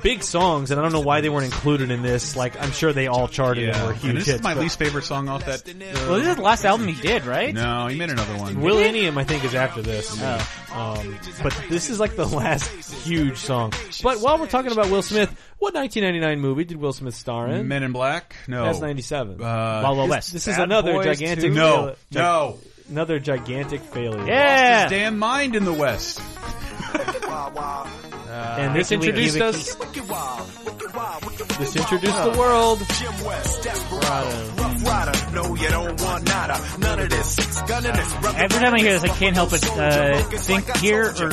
B: big songs, and I don't know why they weren't included in this. Like I'm sure they all charted and were
A: And
B: huge
A: this
B: hits.
A: is my
B: but
A: least favorite song off that.
D: Well, this is the last album he did, right?
A: No, he made another one.
B: Willennium, I think, is after this. Um, but this is like the last huge song. But while we're talking about Will Smith, what 1999 movie did Will Smith star in?
A: Men in Black? No.
B: That's 97.
A: Uh,
D: Wild
B: this,
D: Wild West.
B: this is
C: Bad
B: another
C: Boys
B: gigantic
C: 2?
A: no,
B: fail- gi-
A: no.
B: another gigantic failure.
D: yeah.
A: Damn mind in the West.
B: and this
D: Can we
B: introduced
D: give it-
B: us. This introduced the world.
G: Jim West, Desperado, Rough Rider. No, you don't want nada. None of this. Six gun in this. Rubber
D: Every time I hear this, I can't help but uh, think, hear, or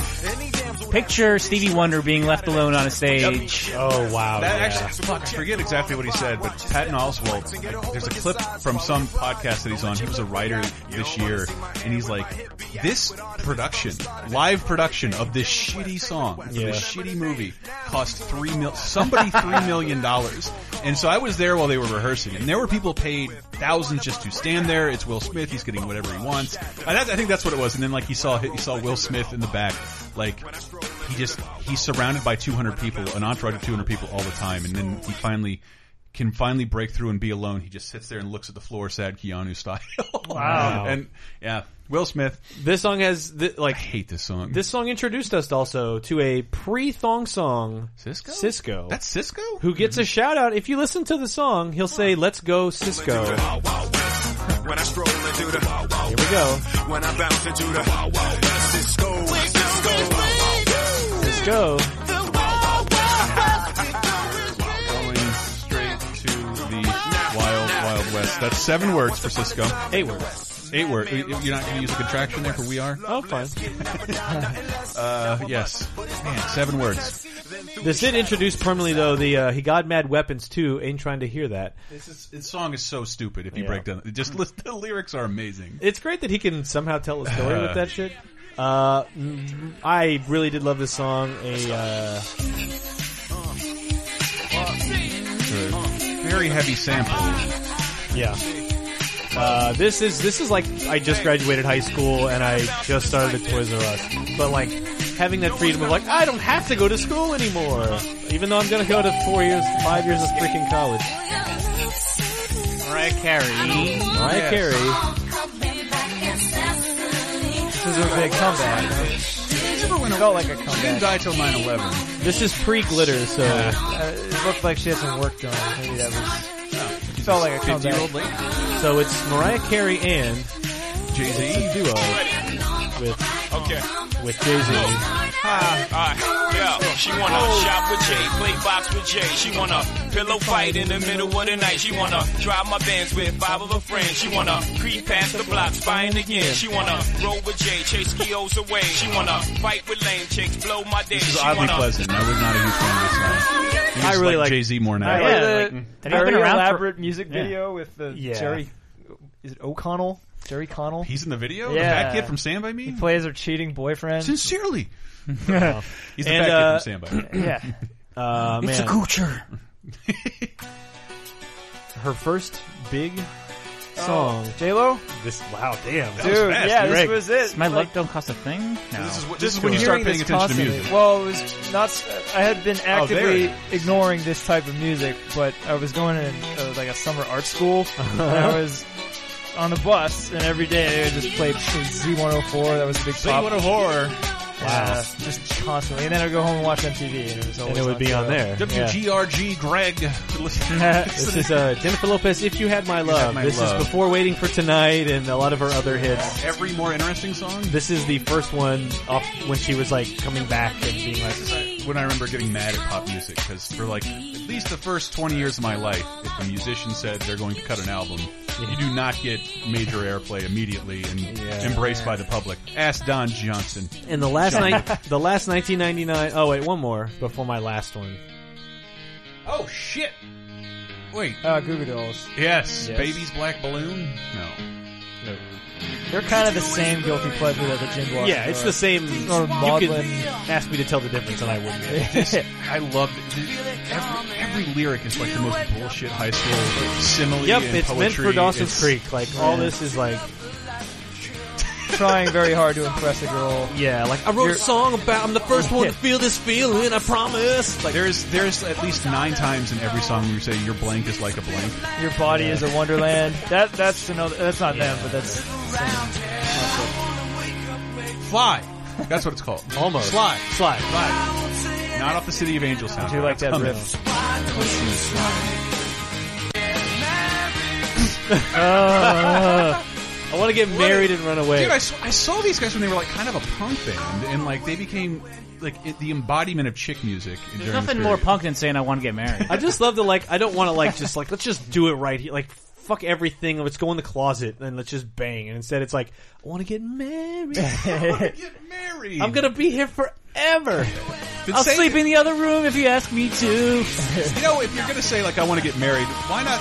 D: picture Stevie Wonder being left alone on a stage.
B: Oh wow!
A: That
B: yeah.
A: actually, fuck, I forget exactly what he said, but Patton Oswalt, like, there's a clip from some podcast that he's on. He was a writer this year, and he's like, this production, live production of this shitty song, for
B: Yeah.
A: this shitty movie, cost three mil, somebody three million dollars. And so I was there while they were rehearsing, and there were people paid thousands just to stand there. It's Will Smith; he's getting whatever he wants. And that's, I think that's what it was. And then like he saw he saw Will Smith in the back, like he just he's surrounded by 200 people, an entourage of 200 people all the time, and then he finally can finally break through and be alone. He just sits there and looks at the floor, sad Keanu style. Wow. and yeah, Will Smith.
B: This song has th- like
A: I hate this song.
B: this song introduced us also to a pre-thong song.
A: Cisco.
B: Cisco.
A: That's Cisco.
B: who gets
G: Mm-hmm.
B: a shout out. If you listen to the song, he'll say, "Let's go, Cisco." Here
G: Wild, Wild West. When I stroll into the Wild, Wild
B: we
G: West.
B: go,
G: When I bounce into the Wild, Wild West. Cisco, Cisco.
B: let's go.
A: Going straight to the wild, wild west. That's seven words for Cisco.
B: Hey, words.
A: Eight words. You're not going to use a contraction there for we are.
B: Oh, fine.
A: Uh, yes. Man, seven words.
B: This did introduce permanently though the uh, he god mad weapons too. Ain't trying to hear that.
A: This, is, this song is so stupid. If you
B: Yeah.
A: break down, just listen, the lyrics are amazing.
B: It's great that he can somehow tell a story with that shit. Uh, mm, I really did love this song. A uh,
A: Very heavy sample.
B: yeah. Uh, this is this is like I just graduated high school and I just started at Toys R Us, but like having that freedom of like I don't have to go to school anymore, even though I'm gonna go to four years, five years of freaking college.
D: Mariah Carey.
B: Mariah
A: Yes.
B: Carey,
C: This is a big comeback. It felt like a
A: Didn't
C: comeback.
A: die till 9-11.
B: this is pre glitter, so
C: Uh, it looked like she had some work done. Maybe that was. It felt like a comeback.
A: Fifty-year-old lady.
B: so it's Mariah Carey and
A: Jay Z.
B: duo with
K: Okay.
B: with Jay Z.
K: Alright, yeah. She wanna shop with Jay, play box with Jay. She wanna pillow fight in the middle of the night. She wanna drive my bands with five of her friends. She wanna creep past the block, spying again. She wanna roll with Jay, chase skios away. She wanna fight with lame chicks, blow my dick.
A: This is
K: She
A: oddly
K: wanna
A: pleasant. I was not a huge fan of this song. I, just
B: really like-
A: Jay Z more now.
B: I- Yeah,
C: Like the
B: like-
D: Have you
C: very
D: been around for-
C: elaborate music
D: Yeah.
C: video with the
B: Yeah.
C: Jerry. Is it O'Connell? Jerry Connell.
A: He's in the video. The
C: Yeah.
A: fat kid from Stand by Me.
C: He plays her cheating boyfriend.
A: Sincerely, he's the
B: And,
A: fat
B: uh,
A: kid from Stand by Me.
C: yeah.
B: Uh, man.
C: coocher.
B: her first big song.
C: J Lo,
B: This wow, damn,
C: dude,
A: fast,
C: yeah, this
B: Rick.
C: was it.
D: My
C: Like,
D: love don't cost a thing. No.
A: This is what- this is when you start
C: hearing
A: paying
C: this
A: attention to
C: constantly-
A: music. Oh,
C: Well, it was not. I had been
A: there it
C: actively
A: is.
C: ignoring this type of music, but I was going in uh, like a summer art school, and I was on the bus, and every day they would just play Z104. That was a big pop.
A: What a horror!
C: Uh, just constantly, and then I'd go home and watch MTV, and it was always
B: and it would be on
C: so-
B: there. Yeah.
A: WGRG Greg.
B: This is uh, Jennifer Lopez. If you had my love,
A: My
B: this
A: Love.
B: is before waiting for tonight and a lot of her other hits.
A: Every more interesting song.
B: This is the first one up when she was like coming back and being like,
A: when I remember getting mad at pop music because for like at least the first 20 years of my life, if a musician said they're going to cut an album, you do not get major airplay immediately and
B: Yeah.
A: embraced by the public. Ask Don Johnson.
B: and the last night, the last 1999. Oh wait, one more before my last one.
A: Oh shit! Wait.
C: Uh, Goo Goo Dolls.
A: Yes,
C: Yes.
A: Baby's Black Balloon? No.
C: They're kind of the same guilty pleasure that the Jim Walker
B: Yeah, it's
C: are.
B: the same.
C: Or
B: you could
C: Maudlin.
B: ask me to tell the difference, and I wouldn't. be able to.
A: I loved it. Every, every lyric is like the most bullshit high school simile.
B: Yep,
A: and
B: it's meant for
A: poetry.
B: Dawson's
A: It's-
B: Creek. Like all this is like,
C: trying very hard to impress a girl.
B: yeah, like I wrote a song about. I'm the first one to feel this feeling. I promise. Like
A: There's there's at least nine times in every song where you say your blank is like a blank.
C: Your body is a wonderland. That that's another. That's not them, but that's
A: Fly. That's what it's called.
B: almost
A: Fly.
B: slide.
A: Not off the City of Angels sound.
C: Do you like that riff?
B: I want to get married and run away.
A: Dude, I, saw- I saw these guys when they were like kind of a punk band, and like they became like it, the embodiment of chick music.
D: There's nothing more punk than saying I want to get married.
B: I just love the like. I don't want to like just like let's just do it right here. Like fuck everything. Let's go in the closet and let's just bang. And instead, it's like I want to get married.
A: Get married.
B: I'm gonna be here forever.
A: Then
D: I'll
A: say-
D: sleep in the other room if you ask me to.
A: You know, if you're gonna say like I want to get married, why not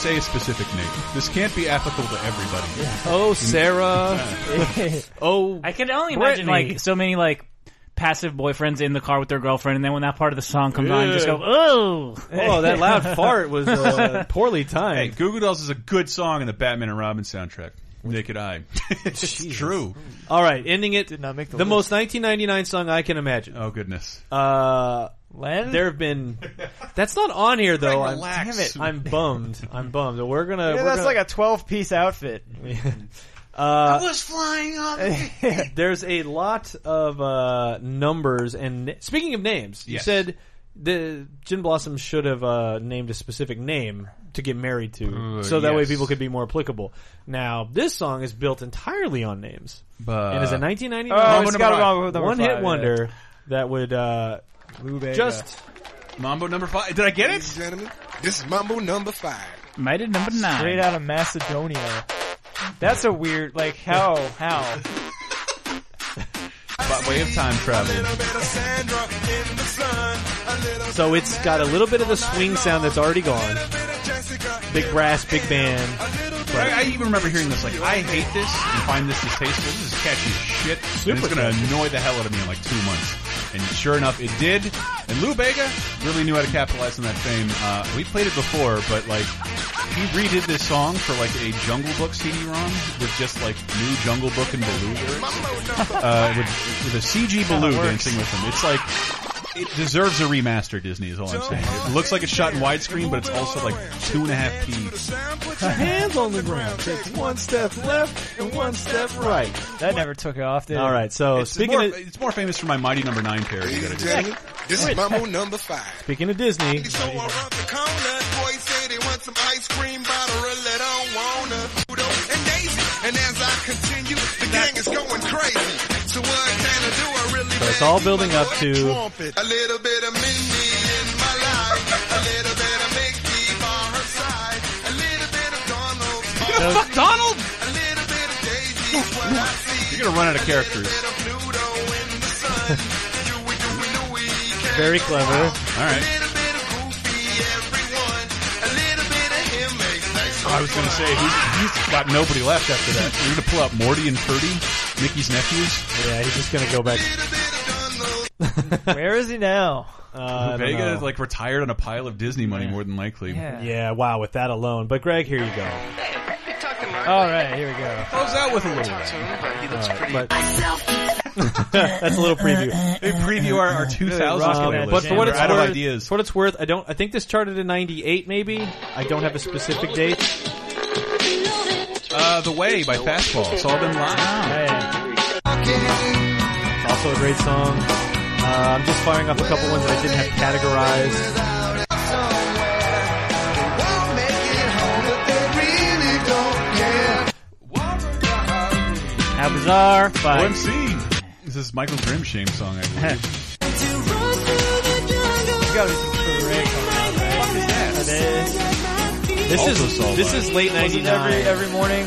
A: say a specific name? This can't be applicable to everybody.
B: Oh, Sarah. oh,
D: I can only imagine
B: Brittany.
D: like so many like passive boyfriends in the car with their girlfriend, and then when that part of the song comes on, you just go, "Oh,
B: oh, that loud fart was uh, poorly
A: Hey,
B: timed.
A: Goo Goo Dolls is a good song in the Batman and Robin soundtrack. Naked Eye. it's true.
B: All right, ending it.
C: Did not make the
B: the
C: list.
B: most 1999 song I can imagine.
A: Oh goodness.
B: Uh,
C: Len.
B: there have been. That's not on here though.
A: Craig,
B: I'm,
A: relax.
B: damn it, I'm bummed. I'm bummed. We're gonna.
C: Yeah,
B: we're
C: that's
B: gonna-
C: like a twelve-piece outfit.
B: Uh,
A: was flying on.
B: there's a lot of uh, numbers and speaking of names, you
A: Yes.
B: said the Gin Blossom should have uh, named a specific name to get married to,
A: Uh,
B: so that way
A: yes.
B: people could be more applicable. Now this song is built entirely on names,
A: But
B: and is a
C: Oh,
B: 1999
C: it's got it wrong with number
B: one hit
C: five,
B: wonder that would uh,
C: yeah. Lou Bega.
B: just
A: Mambo number five. Did I get
K: Ladies
A: it?
K: and gentlemen, this is Mambo number five.
D: might have number nine.
C: straight out of Macedonia. That's a weird, like how how.
A: Hot way of time travel.
B: So it's got a little bit of the swing sound that's already gone. Big brass, big band.
A: I, I even remember hearing this. Like, I hate this and find this distasteful. This is catchy as shit. and it's
B: Super
A: going to annoy the hell out of me in like two months. And sure enough, it did. And Lou Bega really knew how to capitalize on that fame. Uh, we played it before, but like, he redid this song for like a Jungle Book CD-ROM with just like new Jungle Book and Baloo lyrics. Uh, with, with a CG Baloo
L: works.
A: dancing with him. It's like, it deserves a remaster, Disney, is all I'm saying. It looks like it's shot in widescreen, but it's also like two and a half P
C: Hands on the ground. Take one step left and one step right. That never took off, did it?
B: All right, so
A: It's
B: Oh, speaking
A: more,
B: of
A: it's more famous for my Mighty Number Nine parody that I did.
G: This is Mambo number five.
B: speaking of Disney,
G: So I run the corner. Boy said he wants some ice cream, but I really don't wanna. Udo and Daisy, and as I continue, the gang is going crazy. So what can I do? I really
B: so it's all building up to
G: trumpet. A little bit of Mindy in my life, a little bit of Mickey by her side, a little bit of Donald.
A: fuck Donald?
G: A little bit of Daisy, is what I see.
A: You're gonna run out of characters.
B: very clever.
A: All right. I was gonna say he's, he's got nobody left after that. You're gonna pull out Morty and Purdy, Mickey's nephews.
B: Yeah, he's just gonna go back.
C: Where is he now?
B: Uh, I don't
A: Vega
B: know.
A: is like retired on a pile of Disney money, more than likely.
C: Yeah.
B: Yeah, wow, with that alone. But Greg, here you go.
C: All right, here we go.
A: Close out with a little.
B: But that's a little preview.
A: We preview our, our 2000s
B: Um,
A: playlist.
B: but for what
A: We're
B: it's
A: out of
B: worth,
A: ideas.
B: for what it's worth, I don't. I think this charted in '98, maybe. I don't have a specific date.
A: Uh, the Way by Fastball. Saw them live.
B: Hey. It's also a great song. Uh, I'm just firing off a couple ones that I didn't have categorized. How bizarre! By
A: OMC. This is Michael Grimshame song. I believe.
B: this
A: Also
B: is
A: Saw
B: this
A: Live.
B: is late
C: Was it
B: '99.
C: every every morning?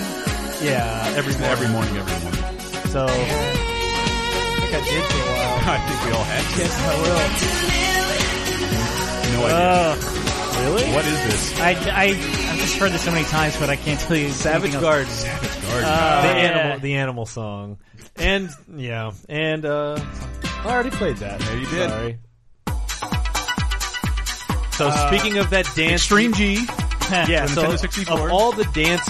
B: yeah, every morning.
A: every morning, every morning.
B: So
C: I think I did for a while.
A: I think we all had
C: Yes, I will.
A: no idea.
B: Oh, really,
A: What is this?
M: I, I, I've just heard this so many times, but I can't tell you.
B: Savage
M: anything else.
B: Garden,
A: Garden. Uh,
B: the
C: yeah.
B: animal, the animal song, and yeah, and uh, I already played that.
A: Yeah, you did.
B: Sorry. So speaking of that dance,
A: Extreme G.
B: yeah,
A: for
B: so
A: Nintendo 64.
B: of all the dance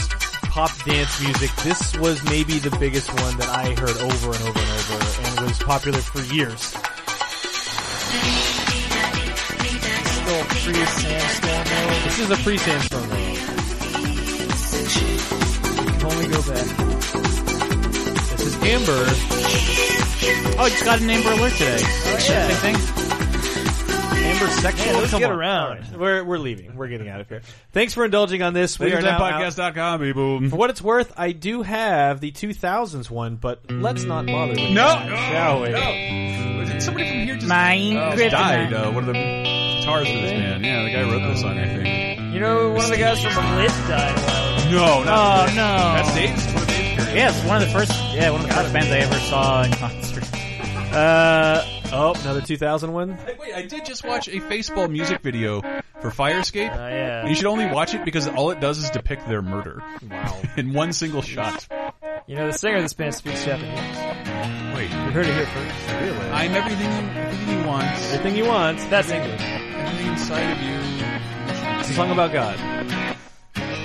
B: pop dance music, this was maybe the biggest one that I heard over and over and over, and was popular for years.
C: Little free sandstorm world.
B: This is a pre-sandstorm. Rule.
C: If Only go back.
B: This is Amber.
M: Oh, I just got an Amber Alert today.
C: Oh, yeah.
M: Same thing.
B: Amber sexual.
C: let's
B: Come
C: get
B: on.
C: around.
B: All right. We're we're leaving. We're getting out of here. Thanks for indulging on this. We are now out.
A: Podcast.com, people.
B: For what it's worth, I do have the 2000s one, but let's not bother with
A: No,
B: that,
A: no,
B: shall we?
A: no. Did somebody from here just
M: Mine
B: Oh,
A: just died? Uh, one of the guitars for this band. Yeah, the guy wrote this song, I think.
C: You know, one of the guys from the list died. a while ago.
A: No,
M: Oh
B: Uh,
A: not
M: no!
A: That's Dave's. What a Dave period.
M: Yeah, it's one of the first. Yeah, one of the first bands I ever saw in concert.
B: Uh, oh, another 2000 one?
A: Hey, Wait, I did just watch a Faceball music video for Firescape.
B: Uh,
C: Oh, yeah.
A: You should only watch it because all it does is depict their murder. Wow. In one single shot.
C: You know, the singer of this band speaks Japanese.
A: Wait.
C: You heard it here first. Really?
A: I'm everything you, everything you want,
B: Everything you want.
C: That's English.
A: everything inside of you.
B: It's a song about God.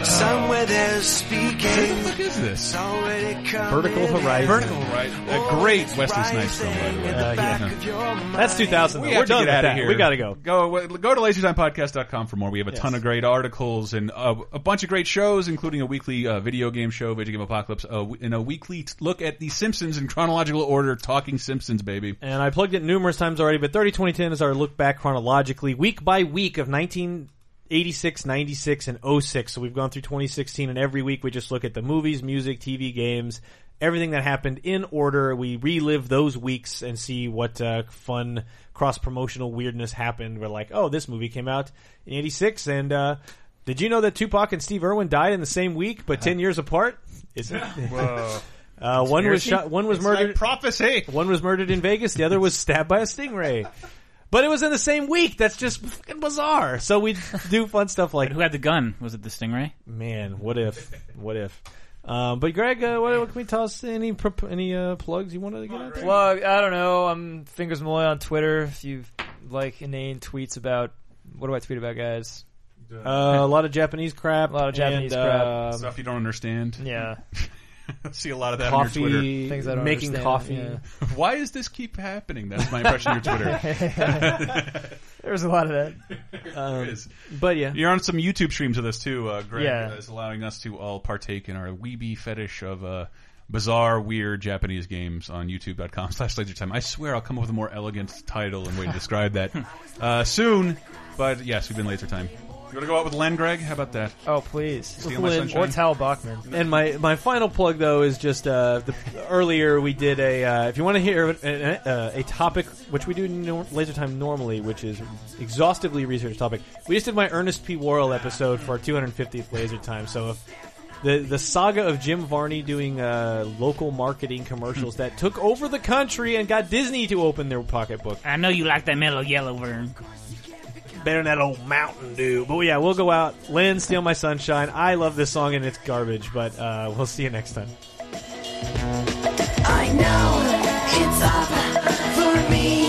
L: Somewhere there's
A: What the
L: speaking.
A: fuck is this?
B: Vertical Horizon.
A: Vertical right. A great Wesley Snipes song, by the way.
B: Uh, yeah.
L: That's
B: That's 2000.
A: We
B: though.
A: have
B: We're
A: to
B: done
A: get
B: with
A: outta
B: that.
A: here.
B: We gotta go.
A: Go go to lasertimepodcast.com for more. We have a ton of great articles and uh, a bunch of great shows, including a weekly uh, video game show, Video Game Apocalypse, uh, and a weekly t- look at The Simpsons in chronological order, Talking Simpsons, baby.
B: And I plugged it numerous times already, but 30 2010 is our look back chronologically, week by week of 1986, 96, and 06. So we've gone through 2016, and every week we just look at the movies, music, TV, games, everything that happened in order. We relive those weeks and see what uh, fun cross promotional weirdness happened. We're like, oh, this movie came out in 86, and uh, did you know that Tupac and Steve Irwin died in the same week, but 10 years apart? Isn't Uh, one was
A: Conspiracy?
B: shot. One was
A: It's
B: murdered.
A: like prophecy.
B: One was murdered in Vegas. The other was stabbed by a stingray. But it was in the same week. That's just fucking bizarre. So we do fun stuff like
M: who had the gun? Was it the stingray?
B: Man, what if? What if? Um, but Greg, uh, what, what can we toss? Any prop- any uh, plugs you wanted to get? out there?
C: Plug. I don't know. I'm fingers Malloy on Twitter. If you like inane tweets about what do I tweet about, guys?
B: Uh, a lot of Japanese crap. um, A
C: lot of Japanese crap.
A: Stuff you don't understand.
C: Yeah.
A: See a lot of that
B: Coffee,
A: on your Twitter.
B: Things I don't making understand, coffee. yeah.
A: Why does this keep happening? That's my impression of your Twitter.
C: There's a lot of that.
A: There is.
B: But yeah,
A: You're on some YouTube streams of this too, uh, Greg.
C: Yeah.
A: Yeah. Is allowing us to all partake in our weeby fetish of uh, bizarre, weird Japanese games on youtube.com slash lasertime. I swear I'll come up with a more elegant title and way to describe that uh, soon. But yes, we've been laser time. You want to go out with Len, Greg? How about that?
C: Oh, please.
A: Steal my sunshine.
C: Or Tal Bachman.
B: And my, my final plug though is just uh, the, earlier we did a uh, if you want to hear a, a, a topic which we do in nor- laser time normally which is exhaustively researched topic we just did my Ernest P Worrell episode for our 250th laser time so if the the saga of Jim Varney doing uh, local marketing commercials that took over the country and got Disney to open their pocketbook
M: I know you like that mellow yellow worm.
B: better than that old Mountain Dew but yeah we'll go out Lynn steal my sunshine I love this song and it's garbage but uh, we'll see you next time.
N: I know it's up for me.